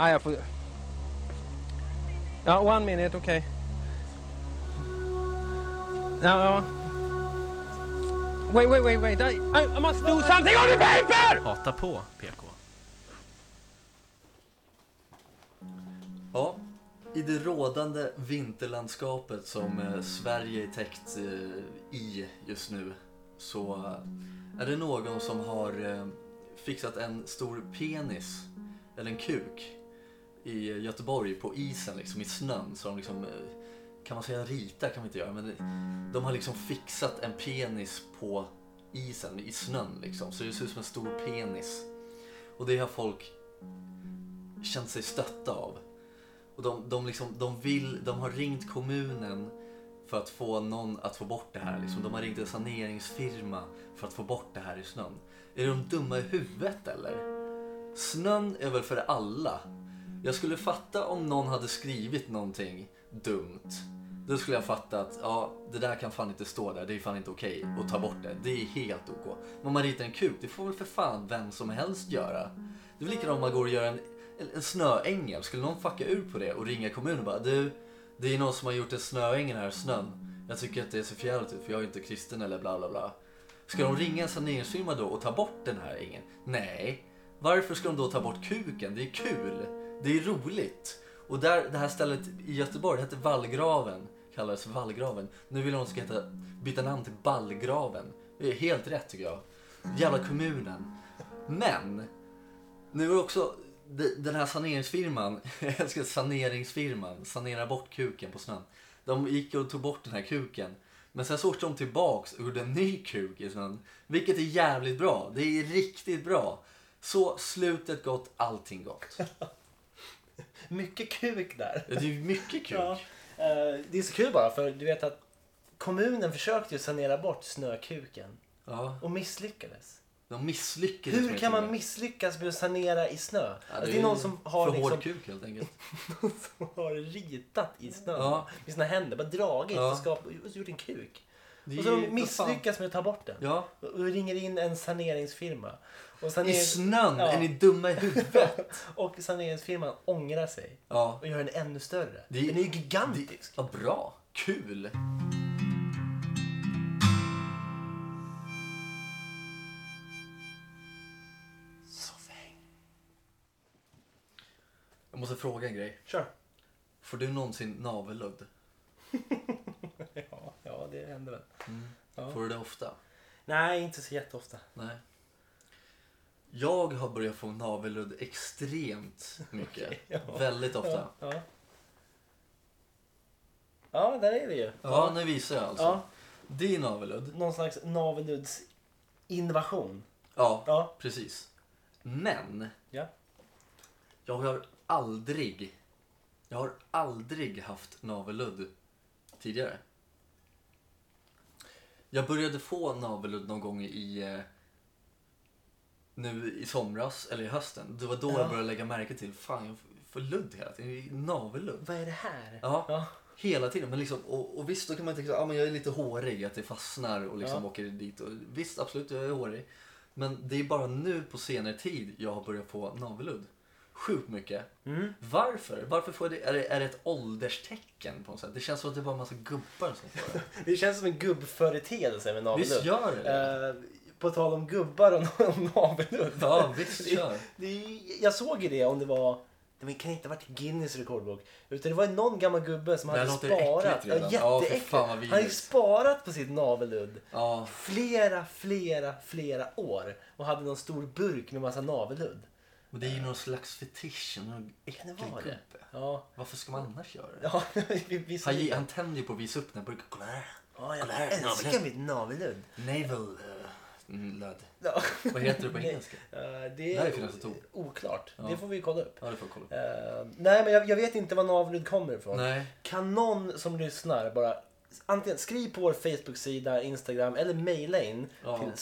C: Ah, jag får... Ja, one minute, okej. Ja, ja. Wait, wait, wait, wait. I, I must do something on the paper!
B: Hata på PK.
A: ja. I det rådande vinterlandskapet som eh, Sverige är täckt eh, i just nu så eh, är det någon som har eh, fixat en stor penis, eller en kuk, i Göteborg på isen, liksom i snön. Så de liksom, eh, kan man säga rita kan man inte göra, men det- de har liksom fixat en penis på isen, i snön liksom. Så det ser ut som en stor penis. Och det har folk känt sig stötta av. Och de, de, liksom, de, vill, de har ringt kommunen för att få någon att få bort det här. Liksom. De har ringt en saneringsfirma för att få bort det här i snön. Är de dumma i huvudet eller? Snön är väl för alla? Jag skulle fatta om någon hade skrivit någonting dumt. Då skulle jag fatta att ja, det där kan fan inte stå där, det är fan inte okej att ta bort det. Det är helt ok. Men man ritar en kuk, det får väl för fan vem som helst göra. Det är väl likadant om man går och gör en, en- en snöängel. Skulle någon fucka ur på det och ringa kommunen och bara du, det är någon som har gjort en snöängel här, snön. Jag tycker att det ser förjävligt ut för jag är inte kristen eller bla bla bla. Ska de ringa en saneringsfirma då och ta bort den här ängen? Nej. Varför ska de då ta bort kuken? Det är kul. Det är roligt. Och där, det här stället i Göteborg det hette Vallgraven. Kallades Vallgraven. Nu vill de att det ska heta, byta namn till Ballgraven. Det är helt rätt tycker jag. Jävla kommunen. Men nu är också de- den här saneringsfirman, jag älskar saneringsfirman, sanera bort kuken på snön. De gick och tog bort den här kuken. Men sen så åkte de tillbaks och gjorde en ny kuk i snön. Vilket är jävligt bra. Det är riktigt bra. Så slutet gott, allting gott.
B: Mycket kuk där.
A: Det är ju mycket kuk.
B: Ja. Eh, Det är så kul bara för du vet att kommunen försökte ju sanera bort snökuken
A: Ja,
B: och misslyckades.
A: de misslyckades
B: Hur
A: med
B: kan man
A: kuken.
B: misslyckas med att sanera i snö?
A: Ja,
B: alltså, det är någon som har,
A: För
B: liksom,
A: hård kuk helt enkelt.
B: som har ritat i snön
A: Ja.
B: med sina händer, bara dragit
A: Ja.
B: och, skap, och gjort en kuk.
A: Det är
B: Och så har
A: ju-
B: de
A: vad
B: misslyckas med att ta bort den.
A: fan. Ja.
B: Och och ringer in en saneringsfirma. Och,
A: I
B: saner-
A: snön,
B: Ja.
A: är ni dumma i huvudet?
B: och saneringsfirman ångrar sig
A: Ja.
B: och gör den ännu större.
A: Det är-
B: den är ju gigantisk.
A: Vad bra. Kul. Jag måste fråga en grej.
B: Kör.
A: Får du någonsin navelludd?
B: Ja, ja, det händer väl. Ja.
A: Får du det ofta?
B: Nej, inte så jätteofta.
A: Nej. Jag har börjat få navelludd extremt mycket.
B: ja.
A: Väldigt ofta. Ja,
B: Ja. ja, där är vi ju.
A: nu visar jag alltså.
B: Ja,
A: Din navelludd.
B: någon slags naveludds invasion.
A: Ja,
B: Ja.
A: precis. Men
B: ja.
A: Jag har aldrig, jag har aldrig haft navelludd tidigare. Jag började få navelludd någon gång i, eh, nu i somras eller i hösten. Det var då
B: Ja.
A: jag började lägga märke till, fan jag får ludd hela tiden, det är navelludd.
B: Vad är det här?
A: Ja. Hela tiden. Men liksom, och, och visst, då kan man tänka att ah, men jag är lite hårig, att det fastnar och liksom
B: Ja.
A: åker dit. Och, visst, absolut, jag är hårig. Men det är bara nu på senare tid jag har börjat få navelludd. Sjukt mycket.
B: Mm.
A: Varför? Varför får jag det? Är, det? är det ett ålderstecken på något sätt? Det känns som att det är bara en massa gubbar som får det.
B: Det känns som en gubbföreteelse med navelludd.
A: Visst gör det det?
B: Eh, på tal om gubbar och om navelludd.
A: Ja, visst
B: Det-
A: kör.
B: det är- Jag såg ju det om det var... Det kan inte ha varit Guinness rekordbok. Utan det var ju någon gammal gubbe som
A: Det här
B: hade
A: låter
B: sparat.
A: äckligt redan. Ja, fy fan vad
B: Han hade ju
A: vidrigt.
B: sparat på sitt navelludd.
A: Ja,
B: Flera, flera, flera år. Och hade någon stor burk med massa navelludd.
A: men det är ju någon slags fetisch. och Någon
B: Kan det
A: äcklig
B: vara det?
A: gubbe.
B: Ja.
A: Varför ska man annars göra det?
B: Ja, vi, vi
A: Han, ge- han tänder ju på att visa upp den här burken. Kolla här!
B: ja, jag
A: Kolla här,
B: älskar
A: navelludd.
B: mitt navelludd.
A: Navel eh, mm, lud.
B: Ja.
A: Vad heter det på
B: Nej,
A: engelska?
B: eh, det
A: Det
B: är
A: här är finast ett ord.
B: oklart.
A: Ja.
B: Det får vi kolla upp.
A: Ja, det får jag kolla upp.
B: Eh, nej, men jag, jag vet inte var navelludd kommer ifrån.
A: Nej.
B: Kan någon som lyssnar bara antingen skriv på vår Facebook-sida, Instagram eller mejla in
A: Ja.
B: till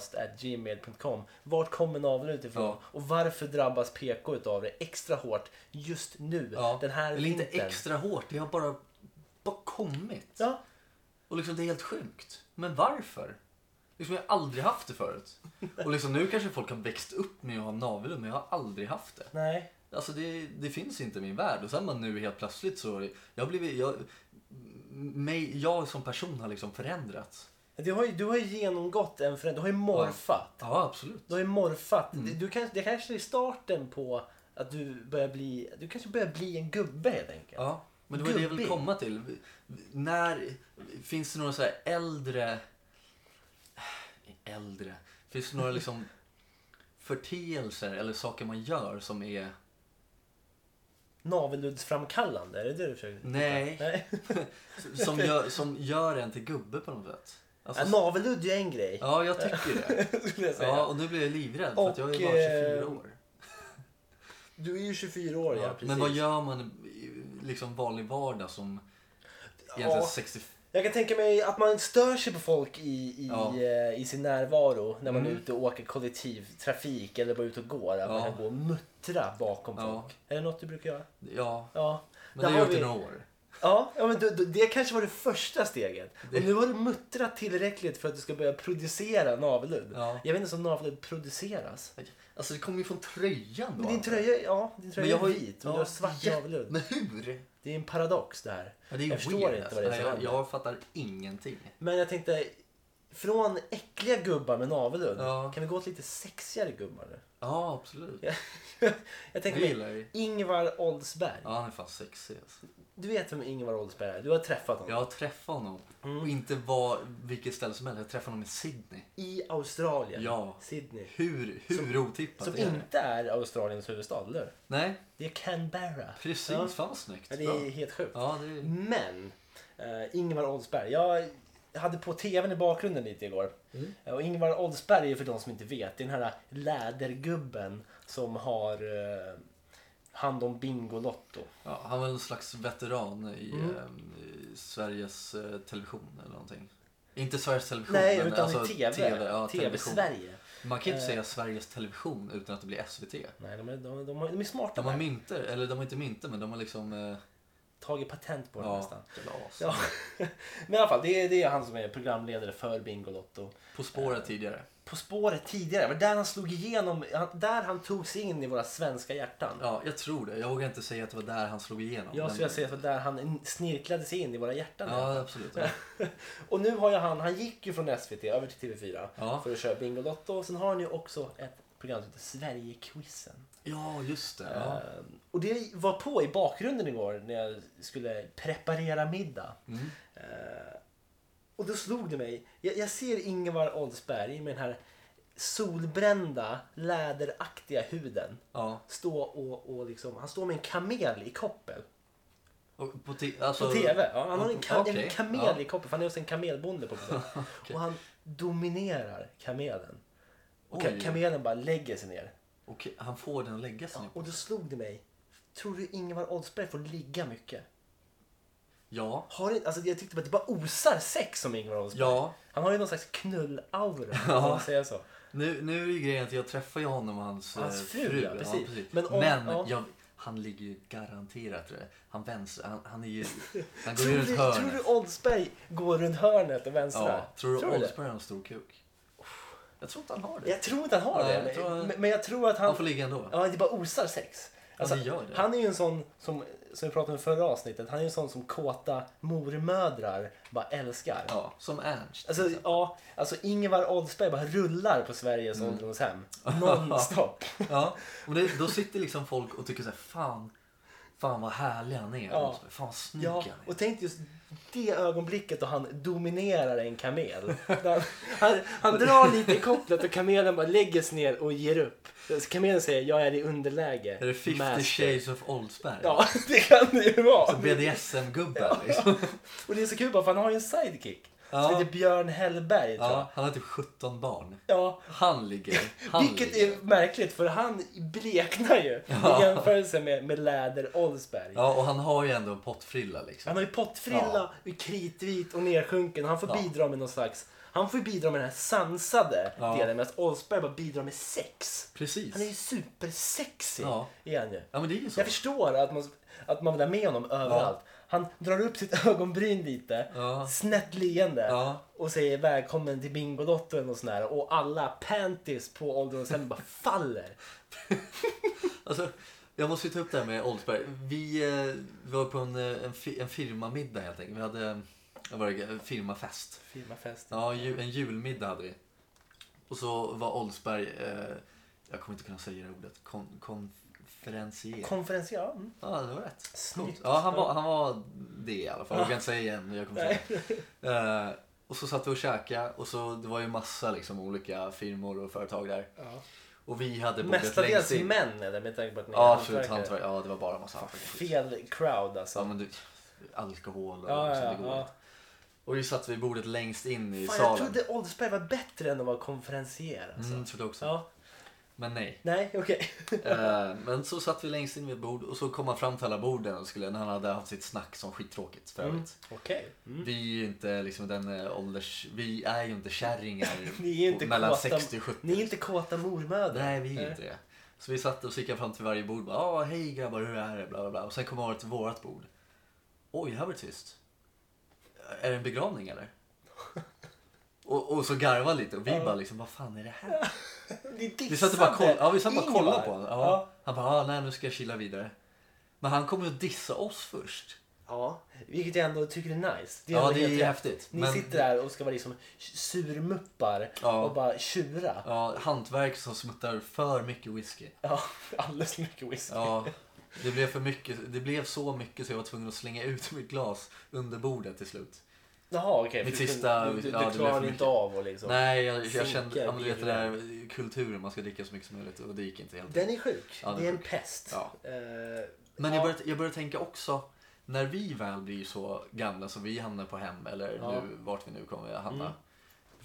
B: soffhangpodcast.gmail.com. Vart kommer navelludd ifrån?
A: Ja.
B: Och varför drabbas PK utav det extra hårt just nu?
A: Ja.
B: Den här
A: Eller inte
B: vintern.
A: extra hårt. Det har bara, bara kommit.
B: Ja,
A: Och liksom det är helt sjukt. Men varför? Liksom jag har aldrig haft det förut. Och liksom nu kanske folk har växt upp med att ha navelludd men jag har aldrig haft det.
B: nej.
A: Alltså det, det finns inte i min värld. Och sen man nu helt plötsligt så... Jag, har blivit, jag, mig, jag som person har liksom förändrats.
B: Du har ju, du har ju genomgått en förändring. Du har ju morfat.
A: Ja, absolut.
B: Du har ju morfat.
A: Mm.
B: Du, du kan, det kanske är starten på att du börjar bli, du kanske börjar bli en gubbe helt enkelt.
A: Ja, men det var det jag ville
B: Gubbig.
A: komma till. När, finns det några så här äldre... Äldre? Finns det några liksom förteelser eller saker man gör som är...
B: Naveluddsframkallande, är det det du försöker
A: Nej.
B: Nej.
A: Som gör, som gör en till gubbe på något sätt?
B: Ja,
A: Alltså,
B: navelludd är ju en grej.
A: ja, jag tycker det.
B: Skulle jag säga.
A: Ja, och nu blir jag livrädd för att jag är ju
B: Och,
A: bara 24
B: eh,
A: år.
B: Du är ju 24 år, ja.
A: Ja,
B: precis.
A: men vad gör man i liksom vanlig vardag som egentligen
B: Ja.
A: 65?
B: Jag kan tänka mig att man stör sig på folk i, i,
A: Ja.
B: eh, i sin närvaro när man är
A: Mm.
B: ute och åker kollektivtrafik eller bara ute och går. Att man
A: Ja.
B: kan gå och muttra bakom
A: Ja.
B: folk. Är det något du brukar göra?
A: Ja,
B: Ja.
A: men
B: Där
A: det har
B: har
A: jag gjort
B: vi-
A: i några år.
B: Ja, ja men du, du, det kanske var det första steget.
A: Det-
B: Och nu har du muttrat tillräckligt för att du ska börja producera navelludd.
A: Ja.
B: Jag vet inte om navelludd produceras.
A: Alltså det kommer ju från tröjan då.
B: Men din tröja, ja, din tröja
A: Men jag har
B: är
A: ju-
B: vit
A: ja,
B: men du har svart
A: jä-
B: navelludd.
A: Men hur?
B: Det är en paradox det här.
A: Ja, det är ju
B: jag förstår
A: weird,
B: inte vad det är
A: alltså.
B: som
A: jag,
B: händer.
A: jag fattar ingenting.
B: Men jag tänkte, från äckliga gubbar med navelludd,
A: Ja.
B: kan vi gå till lite sexigare gubbar nu?
A: Ja, absolut.
B: jag
A: Jag
B: tänker mig
A: gillar ju.
B: Ingvar Oldsberg.
A: Ja, han är fan sexig alltså.
B: Du vet vem Ingvar Oldsberg är? Du har träffat honom.
A: Jag har träffat honom.
B: Mm.
A: Och inte var, vilket ställe som helst. Jag träffade honom i Sydney.
B: I Australien.
A: Ja.
B: Sydney.
A: Hur, hur otippat
B: Som
A: är det?
B: inte är Australiens huvudstad, eller hur?
A: Nej,
B: Det är Canberra.
A: precis.
B: Ja.
A: Fan vad snyggt.
B: Ja, det
A: Bra.
B: är helt sjukt.
A: Ja, det är...
B: Men, eh, Ingvar Oldsberg. Jag hade på tvn i bakgrunden lite igår.
A: Mm.
B: Eh, Och Ingvar Oldsberg är för de som inte vet, det är den här lädergubben som har eh, hand om Bingolotto.
A: Ja, han var en slags veteran i,
B: Mm.
A: ehm, i Sveriges eh, Television eller någonting. Inte Sveriges Television,
B: Nej,
A: men
B: utan
A: alltså
B: i tv.
A: TV, ja, television.
B: TV-Sverige.
A: Man kan ju inte
B: Eh.
A: säga Sveriges Television utan att det blir SVT.
B: Nej, de är, de, de, har- de är smarta.
A: De har
B: där.
A: mynter, eller de har inte mynter men de har liksom... Eh,
B: Tagit patent på det
A: ja,
B: nästan.
A: jävla as.
B: Ja. Men i alla fall, det är, det är han som är programledare för Bingolotto.
A: På spåret tidigare.
B: På spåret tidigare, var där han slog igenom, han, där han tog sig in i våra svenska hjärtan.
A: Ja, jag tror det. Jag vågar inte säga att det var där han slog igenom.
B: Jag
A: men-
B: skulle säga att det var där han snirklade sig in i våra hjärtan.
A: Ja, absolut. Ja.
B: Och nu har ju han, han gick ju från SVT över till TV4
A: Ja.
B: för att köra Bingolotto. Sen har han ju också ett program som heter Sverigequizen.
A: ja, just det. Ja.
B: Ehm, Och det var på i bakgrunden igår när jag skulle preparera middag.
A: Mm.
B: Ehm, Och då slog det mig. Jag, jag ser Ingvar Oldsberg med den här solbrända läderaktiga huden.
A: ja.
B: Stå och, och liksom, han står med en kamel i koppel.
A: Och på, ti- alltså,
B: På TV. Ja, han har en, ka-
A: Okej,
B: en kamel
A: ja.
B: i koppen. för Han är också en kamelbonde på besök. Och han dominerar kamelen. Och ka-
A: Oj.
B: kamelen bara lägger sig ner.
A: Okej, han får den att lägga sig.
B: Och
A: Ja.
B: då slog det mig. Tror du Ingvar Oldsberg får ligga mycket?
A: ja.
B: Har det, alltså jag tyckte bara att det bara osar sex som Ingvar Oldsberg.
A: Ja.
B: Han har ju någon slags knullaura. Ja. Om man säger så.
A: Nu, nu är ju grejen att jag träffar ju honom och hans,
B: Hans
A: eh,
B: fru, ja, precis.
A: precis.
B: Men
A: Men,
B: om- ja.
A: jag, han ligger ju garanterat det. Han vänster, han, han är ju... Han går
B: Tror
A: ju runt
B: du, tror
A: hörnet.
B: du Oldsberg går runt hörnet och vänstrar?
A: Ja, tror du
B: det?
A: Oldsberg har en stor kuk? Jag tror inte han har det.
B: Jag tror inte han har
A: Nej,
B: det.
A: jag tror-
B: Men, men jag tror att
A: Han
B: han...
A: får ligga ändå.
B: Ja, det bara osar sex. Alltså,
A: det gör det.
B: Han är ju en sån som, som vi pratade om i förra avsnittet, han är ju en sån som kåta mormödrar bara älskar.
A: Ja, som Ernst. liksom.
B: Alltså, ja, alltså Ingvar Oldsberg bara rullar på Sveriges
A: Mm.
B: ålderdomshem. Nonstop.
A: Ja, och det, då sitter liksom folk och tycker så här, fan, fan vad härlig han är.
B: Ja.
A: Oldsberg. Fan vad snygg
B: Ja,
A: han är.
B: och tänk just det ögonblicket då han dominerar en kamel. Där Han, han drar lite i kopplet och kamelen bara lägger sig ner och ger upp. Så kamelen säger jag är i underläge.
A: Är det 50
B: master."
A: shades of Oldsberg?
B: Ja, det kan det ju vara.
A: BDSM-gubben liksom.
B: Och det är så kul bara för han har ju en sidekick.
A: Ja.
B: Som heter Björn Hellberg tror jag.
A: Ja, han har typ 17 barn.
B: Ja.
A: Han ligger. Han
B: Vilket
A: ligger.
B: är märkligt för han bleknar ju
A: Ja.
B: i jämförelse med, med Läder Oldsberg.
A: Ja, och han har ju ändå en pottfrilla liksom.
B: Han har ju pottfrilla, är kritvit och nedsjunken. Han får
A: Ja.
B: bidra med någon slags... Han får ju bidra med den här sansade
A: Ja.
B: delen medan Oldsberg bara bidrar med sex.
A: Precis.
B: Han är ju supersexig
A: Ja.
B: igen ju.
A: Ja, men det är ju så.
B: Jag förstår att man, att man vill ha med honom överallt. Han drar upp sitt ögonbryn lite,
A: Ja.
B: snett leende
A: Ja.
B: och säger välkommen till Bingolotto eller något sånt där. Och alla panties på ålderdomshemmet bara faller.
A: Alltså, jag måste ju ta upp det här med Oldsberg. Vi eh, var på en, eh, en, fi- en firmamiddag helt enkelt. Vi hade eh, vad var det, en firmafest.
B: Firmafest.
A: Ja, ju, en julmiddag hade vi. Och så var Oldsberg, eh, jag kommer inte kunna säga det ordet, kon, konferencier.
B: Konferencier. ja, Mm.
A: ja, det var rätt.
B: Snyggt.
A: Ja, han var, han var det i alla fall. Jag kan inte säga igen, men jag kommer säga
B: Nej.
A: det. Eh, och så satt vi och käkade och så, det var ju massa liksom, olika firmor och företag där.
B: Ja.
A: Och vi hade bordet längst
B: Mestadels
A: in.
B: män eller med tanke på att ni
A: Ja,
B: är
A: absolut.
B: hantverkare.
A: Hantverk. Ja, det var bara massa hantverkare.
B: Fel crowd alltså.
A: Ja, men du, alkohol och
B: Ja,
A: ja,
B: ja,
A: det går
B: ja.
A: inte. Och vi satt vid bordet längst in i
B: Fan, jag
A: salen.
B: trodde Oldsberg var bättre än att vara konferencier. Alltså.
A: Mm, trodde också.
B: Ja.
A: Men nej.
B: Nej, okej.
A: Eh, men så satt vi längst in vid ett bord och så kom han fram till alla borden och skulle, när han hade haft sitt snack som skittråkigt för
B: Mm.
A: övrigt.
B: Okej.
A: Vi är ju inte liksom den eh, ålders... Vi är ju inte kärringar
B: Ni är inte
A: på- mellan
B: kåta-
A: 60 och 70.
B: Ni är inte kåta mormödrar.
A: Nej, vi är ju inte det. Så vi satt och så gick han fram till varje bord och bara "Ah, hej grabbar, hur är det? Bla, bla, bla. Och sen kom han över till vårat bord. Oj, här var det tyst. Är det en begravning eller? Och, och så garvade han lite och vi bara liksom, vad fan är det här?
B: Ni dissade
A: Vi satt och bara, koll, ja, vi satt och bara
B: Ingvar.
A: kollade på honom. Ja.
B: Ja.
A: Han bara, ah, nej nu ska jag kila vidare. Men han kommer ju att dissa oss först.
B: ja. Vilket jag ändå tycker är nice.
A: Ja,
B: ändå
A: det är
B: helt rätt.
A: häftigt,
B: Ni
A: men-
B: sitter där och ska vara liksom surmuppar
A: Ja.
B: och bara tjura.
A: Ja, hantverk som smuttar för mycket whisky.
B: Ja, alldeles för mycket whisky.
A: Ja, det blev för mycket. Det blev så mycket så jag var tvungen att slänga ut mitt glas under bordet till slut.
B: Jaha, okej.
A: Mitt
B: för du-
A: sista-
B: Du, du,
A: ja, det
B: du
A: blev för
B: klarar
A: mycket.
B: inte av och liksom.
A: Nej, jag, jag
B: Sinkar
A: kände, ja, men du vet det
B: blir det.
A: där kulturen, man ska dricka så mycket som möjligt och det gick inte helt.
B: Den är sjuk.
A: Ja, den
B: det är
A: är
B: en
A: sjuk.
B: pest.
A: Ja.
B: Eh,
A: Men jag
B: ja.
A: började, jag började tänka också, när vi väl blir så gamla som vi hamnar på hem eller
B: Ja. Mm.
A: nu, vart vi nu kommer att hamna.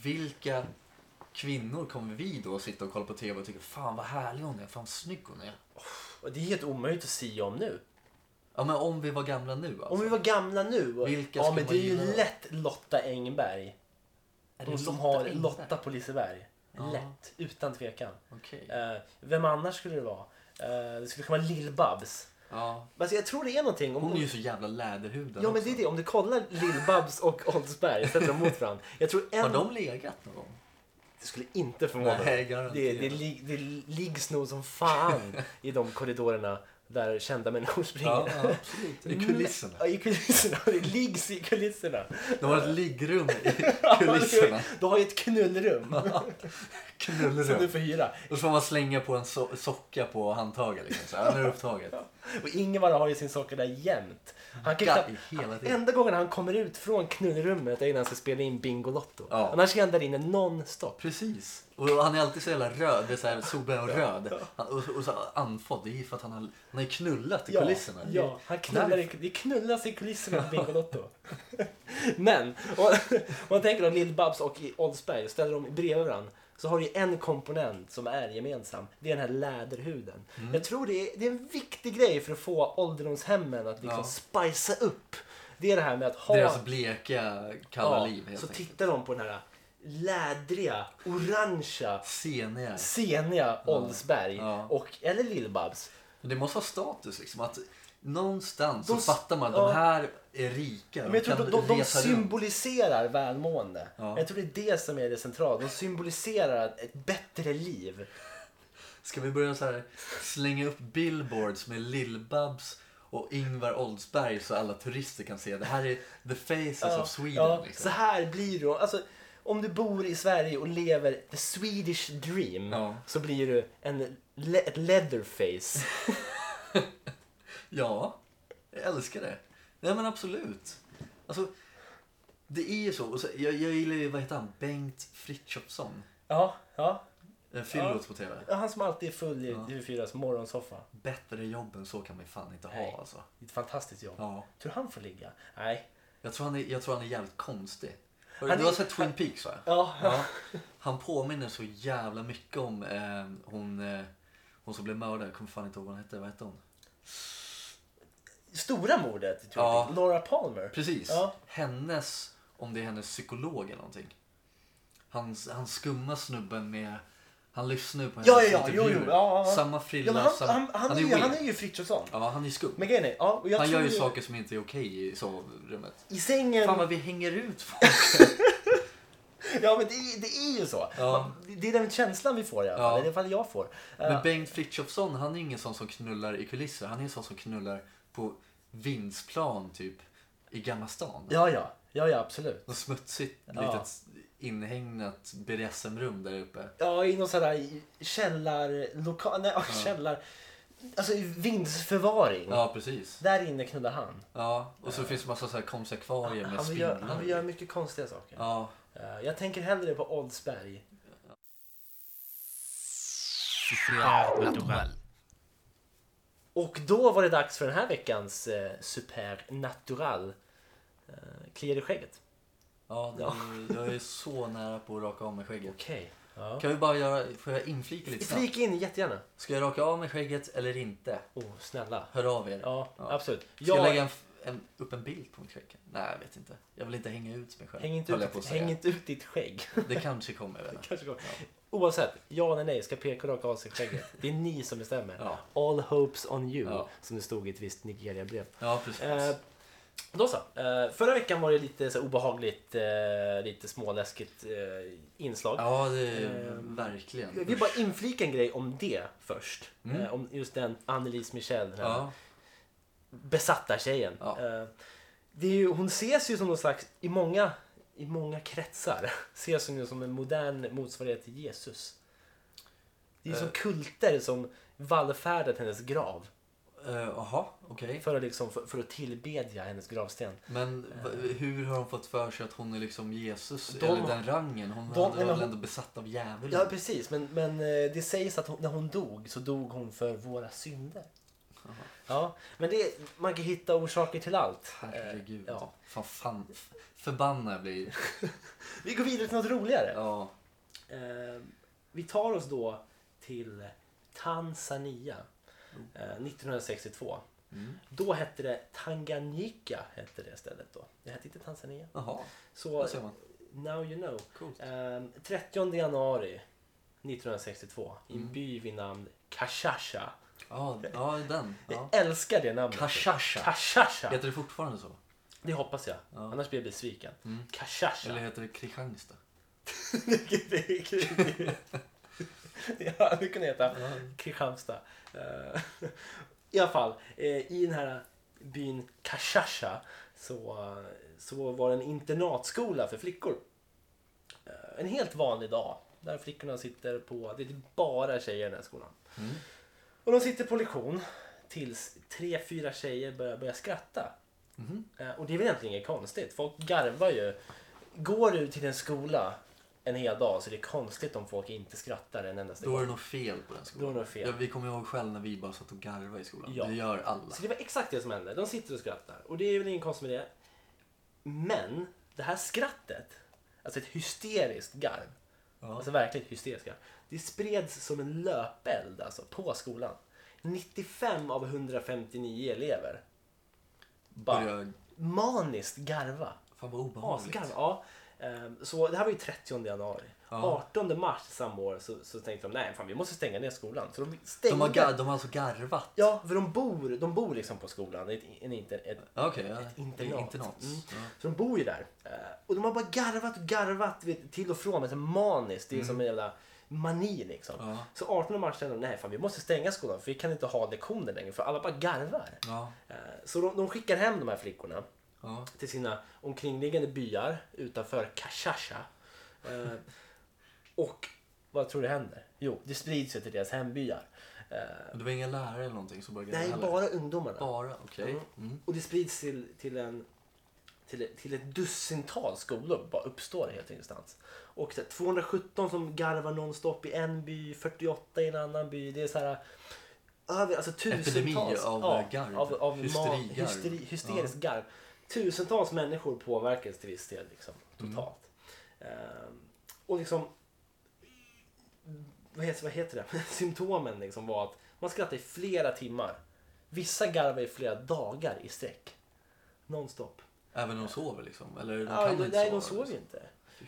A: Vilka kvinnor kommer vi då sitta och kolla på TV och tycka fan vad härlig hon är, fan vad snygg hon är.
B: Och det är helt omöjligt att sia om nu.
A: Ja men om vi var gamla nu alltså.
B: Om vi var gamla nu.
A: Vilka
B: ja,
A: ska
B: men
A: man
B: det är ju
A: gilla då?
B: lätt Lotta Engberg.
A: Är det
B: Hon som
A: Lotta
B: har
A: Engberg?
B: Lotta på Liseberg.
A: Ja.
B: Lätt, utan tvekan.
A: Okej.
B: Eh, vem annars skulle det vara? Eh, det skulle kunna vara Lill-Babs.
A: Ja.
B: Men Alltså, jag tror det är någonting. Om,
A: Hon är ju så jävla läderhudad
B: Ja men
A: också.
B: det är det, om du kollar Lill-Babs och Oldsberg, sätter dem mot varandra. Jag tror en...
A: Har de legat någon gång?
B: Det skulle inte förvåna
A: Nej,
B: mig. det,
A: garanterat.
B: det, lig- det liggs nog som fan i de korridorerna där kända människor springer.
A: Ja, ja, absolut. I kulisserna.
B: Ja, i kulisserna. Det liggs i kulisserna.
A: Det var
B: Mm.
A: ett liggrum i kulisserna.
B: Du har ju ett knullrum som du
A: Knullrum.
B: får hyra.
A: Och så får man slänga på en so- socka på handtaget. Liksom. Så här, nu är det upptaget.
B: Och Ingvar har ju sin socker där jämt. Han kan
A: Ga-
B: knappt-
A: hela tiden.
B: enda gången han kommer ut från knullrummet är innan han ska spela in Bingolotto.
A: Ja.
B: Annars är han där inne non-stop.
A: Precis. Och han är alltid så jävla röd. Det är så här solbränd och röd. Han, och, och så andfådd. Det är ju för att han har, han har ju knullat i kulisserna.
B: Ja, ja, han knullar i, det knullas i kulisserna på Bingolotto. Men, om om man tänker då Lill-Babs och i Oldsberg och ställer dem bredvid varandra. Så har du ju en komponent som är gemensam. Det är den här läderhuden.
A: Mm.
B: Jag tror det är, det är en viktig grej för att få ålderdomshemmen att liksom
A: Ja.
B: spicea upp. Det är det här med att ha...
A: Deras bleka, kalla liv helt
B: så
A: enkelt.
B: tittar de på den här lädriga, orangea,
A: Seniga.
B: seniga Oldsberg.
A: Ja.
B: Och, eller Lill-Babs.
A: Men det måste vara status liksom. Att någonstans
B: De s-
A: så fattar man att
B: ja.
A: de här är rika.
B: Men jag tror
A: kan
B: att de, de, de
A: resa runt.
B: symboliserar välmående.
A: Ja.
B: Jag tror det är det som är det centrala. De symboliserar ett bättre liv.
A: Ska vi börja så här, slänga upp billboards med Lill-Babs och Ingvar Oldsberg så alla turister kan se. Det här är the faces of Sweden.
B: ja, Så
A: liksom.
B: här blir du. Alltså, om du bor i Sverige och lever the Swedish dream
A: Ja.
B: så blir du en le- ett leatherface.
A: ja, jag älskar det. Nej men absolut. Alltså, det är ju så. Och så jag, jag gillar ju, vad heter han, Bengt Frithiofsson.
B: ja, ja.
A: En Fyllot på TV.
B: Ja, Han som alltid är full i TV4s morgonsoffa.
A: Bättre jobb än så kan vi fan inte
B: Nej.
A: ha alltså.
B: Ett fantastiskt jobb.
A: Ja.
B: Tror han får ligga? Nej.
A: Jag tror han är, jag tror han är jävligt konstig. Har
B: Han
A: du
B: är-
A: har sett Twin Peaks va?
B: Ja.
A: Ja. Han påminner så jävla mycket om eh, hon, eh, hon som blev mördad. Jag kommer fan inte ihåg vad hon hette. Vad hette hon?
B: Stora mordet, tror
A: Ja.
B: jag. Laura Palmer.
A: Precis.
B: Ja.
A: Hennes, om det är hennes psykolog eller någonting. Han, han skumma snubben med, han lyssnar ju på hennes
B: Ja, ja, ja, jo,
A: intervjuer.
B: jo, ja, ja.
A: typ Samma
B: Ja,
A: frilla,
B: men han,
A: samma,
B: han, han, är ju,
A: weird.
B: han är ju Frithiofsson.
A: Ja, han är skum.
B: Men grejen är, ja, och jag
A: han
B: tror
A: gör ju saker som inte är okej i sovrummet.
B: i sängen.
A: Fan vad vi hänger ut folk.
B: Ja men det, är- det är ju så.
A: Ja.
B: Man- det- Det är den känslan vi får i alla fall.
A: Ja.
B: Eller i alla fall jag får. Eh,
A: Men Bengt Frithiofsson, han är ingen sån som knullar i kulisser. Han är en sån som knullar på vindsplan typ i Gamla stan.
B: ja, ja, ja, ja absolut.
A: Något smutsigt
B: Ja.
A: litet inhägnat BDSM-rum där uppe.
B: Ja, i någon sån här källarlokal, nej, ja. källar... Alltså i vindsförvaring.
A: Ja, precis.
B: Där inne knullar han.
A: Ja, och så finns det massa så här konsekvarier med
B: Han vill, göra, han vill göra
A: spindlar.
B: mycket konstiga saker.
A: Ja,
B: Eh, jag tänker hellre på Oldsberg. Och då var det dags för den här veckans eh, supernatural. Eh, kliar i skägget.
A: ja, det, jag är så nära på att raka av mig skägget.
B: Okej. Ja.
A: Kan vi bara göra, får jag inflika lite snabbt?
B: Flika in jättegärna.
A: Ska jag raka av mig skägget eller inte?
B: Oh, snälla.
A: Hör av er.
B: Ja,
A: Ja.
B: absolut.
A: Ska jag
B: Jag-
A: lägga en, f- en, upp en bild på mitt skägg? Nej, jag vet inte. Jag vill inte hänga ut mig själv.
B: Häng inte,
A: höll jag på
B: ut,
A: att säga.
B: häng inte ut ditt skägg.
A: Det kanske kommer väl.
B: Kanske går. Oavsett, ja eller nej, ska PK raka av sig skägget? Det är ni som bestämmer.
A: Ja.
B: All hopes on you,
A: Ja.
B: som det stod i ett visst Nigeria-brev.
A: Ja, precis.
B: Eh, då så. Eh, förra veckan var det lite så här obehagligt, eh, lite småläskigt eh, inslag.
A: ja, det är
B: ehm,
A: verkligen.
B: Jag vill bara inflika en grej om det först.
A: Mm.
B: Eh, om just den Annelise Michel, den här
A: ja,
B: besatta tjejen.
A: Ja.
B: Eh, Det är ju, hon ses ju som någon slags, i många, i många kretsar, ses hon ju som en modern motsvarighet till Jesus. Det är ju som
A: Eh.
B: kulter som vallfärdar till hennes grav
A: Eh, Jaha, okej.
B: för att, liksom, för, för att tillbedja hennes gravsten.
A: Men v- hur har de fått för sig att hon är liksom Jesus?
B: Eh. De-
A: eller den rangen? Hon
B: de-
A: var
B: nej, men
A: väl
B: hon-
A: ändå besatt av djävulen?
B: Ja precis, men, men eh, det sägs att hon, när hon dog så dog hon för våra synder. Ja, men det, man kan hitta orsaker till allt. Eh,
A: Herregud.
B: Ja.
A: Fan, fan, f- förbannad jag blir.
B: Vi går vidare till något roligare.
A: Ja.
B: Eh, vi tar oss då till Tanzania
A: Mm.
B: eh, 1962. Då hette det Tanganyika hette det stället då. Det hette inte Tanzania.
A: Jaha,
B: Så
A: där ser man.
B: now you know.
A: Coolt.
B: Eh, 30 januari 1962 i
A: Mm.
B: en by vid namn Kashasha.
A: Ja, ja den. Ja.
B: Jag älskar det namnet.
A: Kashasha.
B: Kashasha.
A: Heter det fortfarande så?
B: Det hoppas jag. Annars blir jag besviken. Kashasha.
A: Mm. Eller heter det Kristianstad?
B: Det är kul. Ja, det kunde heta Kristianstad. Eh, I alla fall, eh, i den här byn Kashasha så, eh, så var det en internatskola för flickor. Eh, En helt vanlig dag där flickorna sitter på, det är typ bara tjejer i den här skolan. Och de sitter på lektion tills tre, fyra tjejer börjar, börjar skratta. Eh, Och det är väl egentligen inget konstigt. Folk garvar ju. Går du till en skola en hel dag så det är konstigt om folk inte skrattar en endaste
A: Då
B: gång.
A: är det nog fel på den skolan.
B: Då är det nog fel.
A: Ja, vi kommer ihåg själv när vi bara satt och garvade i skolan.
B: Ja.
A: Det gör alla.
B: Så det var exakt det som hände. De sitter och skrattar och det är väl ingen konst med det. Men det här skrattet, alltså ett hysteriskt garv, alltså verkligen hysteriskt garv, det spreds som en löpeld alltså på skolan. 95 av 159 elever bara
A: Börjar-
B: maniskt garva.
A: Fan vad obehagligt.
B: Asgarv, ja. Ehm, Så det här var ju 30 januari.
A: Ja.
B: 18 mars samma år så, så tänkte de nej, fan vi måste stänga ner skolan. Så de stängde.
A: De har, gar, de har alltså garvat?
B: Ja, för de bor, de bor liksom på skolan. Ett, en, inter, ett,
A: Okej, ja.
B: ett internat.
A: internat.
B: Mm.
A: Ja.
B: Så de bor ju där. Eh, Och de har bara garvat och garvat vet, till och från. Alltså maniskt. Det är som en jävla mani liksom.
A: Mm. Ja.
B: Så 18 mars kände de nej, fan vi måste stänga skolan för vi kan inte ha lektioner längre för alla bara garvar.
A: Ja.
B: Eh, Så de, de skickar hem de här flickorna
A: Ja.
B: till sina omkringliggande byar utanför Kashasha. Eh, och vad tror du händer? Jo, det sprids ju till deras hembyar. Eh,
A: Men det var inga lärare eller någonting som bara
B: nej,
A: garvade?
B: bara ungdomarna.
A: Bara, okej.
B: Mm.
A: Mm.
B: Och det sprids till, till en till, till ett dussintal skolor bara uppstår det helt ingenstans. Och så här, 217 som garvar nonstop i en by, 48 i en annan by. Det är så här över, alltså tusentals.
A: Epidemi av,
B: ja,
A: eh, garv.
B: Av, av
A: Hysterigarv.
B: ma- hysteri, hysteriskt garv. Tusentals människor påverkas till viss del liksom,
A: Mm.
B: totalt. Ehm, och liksom vad heter, vad heter det? Symptomen liksom var att man skrattade i flera timmar. Vissa garvade i flera dagar i sträck. Nonstop.
A: Även de sover liksom? Eller de
B: Ja,
A: kan
B: de,
A: inte
B: nej,
A: sova? liksom.
B: de sov ju inte.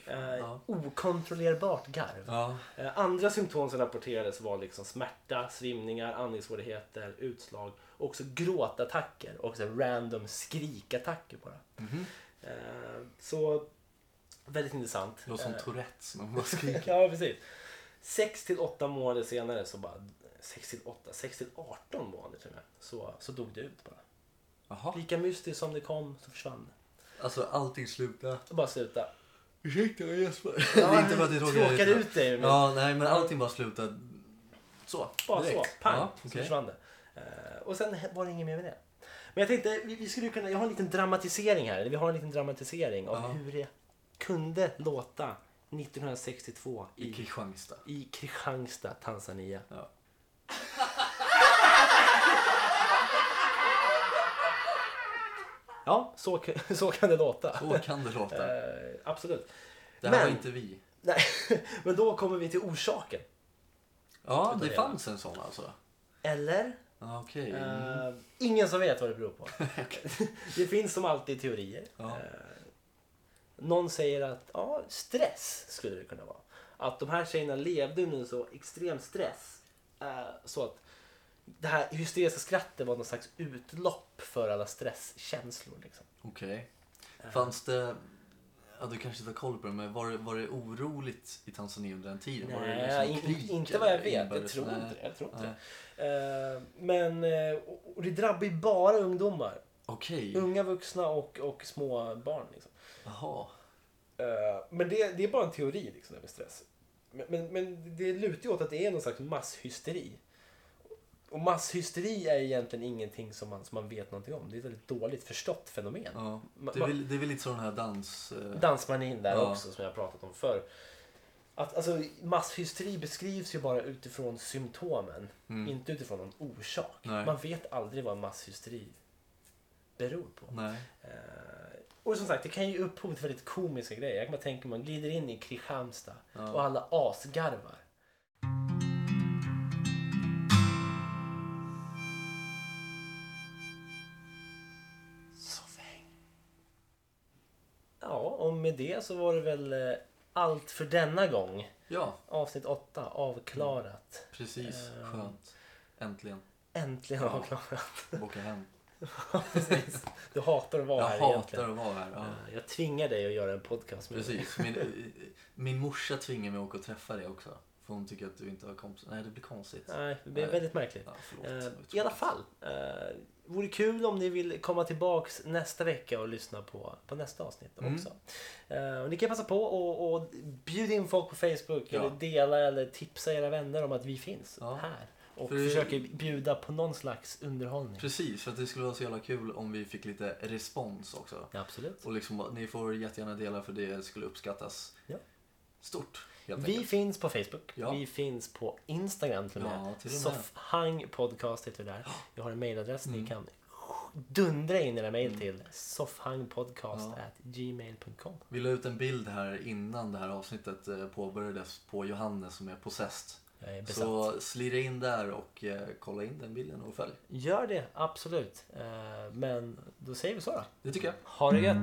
B: Eh,
A: ja.
B: Okontrollerbart garv.
A: Ja.
B: Eh, andra symptom som rapporterades var liksom smärta, svimningar, andningssvårigheter, utslag. Också gråtattacker och så här random skrikattacker bara.
A: Mhm.
B: Eh, så väldigt intressant.
A: Det låter som
B: Eh,
A: Tourettes när man bara skriker.
B: Ja, precis. 6 till 8 månader senare så bara 6 till 8, 6 till 18 månader till och med, så, så dog det ut bara.
A: Jaha.
B: Lika mystiskt som det kom så försvann det.
A: Alltså allting slutar.
B: Så bara sluta.
A: Ursäkta jag gäspar. Det är inte för att det tråkar
B: tråkar ut dig. Men
A: Ja, nej men allting bara slutar. Så.
B: bara så,
A: direkt.
B: pang,
A: Ja,
B: så
A: okej.
B: försvann det. Eh, och sen var det inget mer med det. Men jag tänkte, vi, vi skulle ju kunna, jag har en liten dramatisering här. eller Vi har en liten dramatisering av
A: Ja.
B: hur det kunde låta 1962
A: I
B: i,
A: Kristianstad.
B: i Kristianstad, Tanzania.
A: Ja.
B: Ja, så, k- så kan det låta.
A: Så kan det låta.
B: Eh, absolut.
A: Det här
B: Men-
A: var inte vi.
B: Nej, men då kommer vi till orsaken.
A: Ja,
B: Utan
A: det
B: det.
A: fanns en sån alltså.
B: Eller?
A: Ja, Okej.
B: Eh, ingen som vet vad det beror på. det finns som alltid teorier.
A: Ja.
B: Eh, någon säger att ja, stress skulle det kunna vara. Att de här tjejerna levde under en så extrem stress. eh, så att det här hysteriska skrattet var någon slags utlopp för alla stresskänslor. Liksom.
A: Okej. Fanns det... Ja, du kanske inte har koll på det, men var det, var det oroligt i Tanzania under den tiden? var det liksom
B: Nej, in- inte vad jag vet. Jag
A: inbördes?
B: tror
A: Nej.
B: inte det. Jag tror inte
A: Nej.
B: det. Eh, men eh, och och det drabbar ju bara ungdomar.
A: Okej,
B: Unga vuxna och, och små barn. Liksom.
A: jaha.
B: Eh, men det, det är bara en teori liksom, det med stress. Men, men, men det lutar ju åt att det är någon slags masshysteri. Och masshysteri är egentligen ingenting som man, som man vet någonting om. Det är ett väldigt dåligt förstått fenomen.
A: Ja.
B: Ma-
A: Det, är
B: ma-
A: väl, det är väl lite som den här dans... eh,
B: dansmanin där
A: Ja.
B: också som jag har pratat om förr. Att, alltså, masshysteri beskrivs ju bara utifrån symptomen, inte utifrån någon orsak.
A: Mm. Nej.
B: Man vet aldrig vad masshysteri beror på.
A: Nej.
B: Eh, och som sagt, det kan ge upphov till väldigt komiska grejer. Jag kan bara tänka mig, man glider in i Kristianstad
A: Ja.
B: och alla asgarvar. Ja, och med det så var det väl eh, allt för denna gång.
A: Ja,
B: Avsnitt 8 avklarat.
A: precis.
B: Eh.
A: Skönt. Äntligen.
B: Äntligen avklarat.
A: Åka hem.
B: Precis. Du hatar att vara
A: Jag
B: här
A: hatar
B: egentligen. Eh.
A: att vara här. Ja.
B: Jag tvingar dig att göra en podcast med mig.
A: Precis. Min, eh, min morsa tvingar mig att åka och träffa dig också. För hon tycker att du inte har kompisar. Nej, det blir konstigt.
B: Nej, det blir
A: Nej.
B: väldigt märkligt.
A: Ja, förlåt.
B: Eh,
A: Det var
B: I alla
A: tråkigt.
B: fall. Eh, vore kul om ni vill komma tillbaks nästa vecka och lyssna på, på nästa avsnitt
A: Mm.
B: också. Eh, och ni kan passa på och, och bjuda in folk på Facebook
A: Ja.
B: eller dela eller tipsa era vänner om att vi finns
A: Ja.
B: här. Och
A: För det-
B: försöker bjuda på någon slags underhållning.
A: Precis, för att det skulle vara så jävla kul om vi fick lite respons också.
B: Ja, absolut.
A: Och liksom, ni får jättegärna dela för det skulle uppskattas
B: Ja.
A: stort. Helt
B: Vi
A: enkelt.
B: finns på Facebook.
A: Ja.
B: Vi finns på Instagram till och med.
A: Ja, till och med.
B: Soffhang podcast heter vi där. Vi har en mailadress
A: Mm.
B: ni kan dundra in era mail till. Soffhangpodcast
A: Ja.
B: at gmail.com.
A: Vi la ut en bild här innan det här avsnittet eh, påbörjades på Johannes som är possessed.
B: Jag är besatt.
A: Så slira in där och eh, kolla in den bilden och följ.
B: Gör det, absolut. Eh, Men då säger vi så då.
A: Det tycker jag.
B: Ha det gött!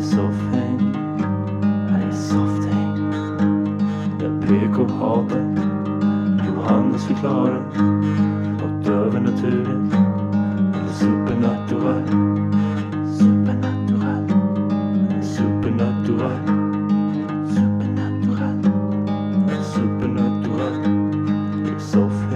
D: soffhäng. Här är softhäng. Jag PK hatar. Johannes förklarar. Något övernaturligt. Eller supernatural. Supernatural. Supernatural. Supernatural. Supernatural. Soffhäng.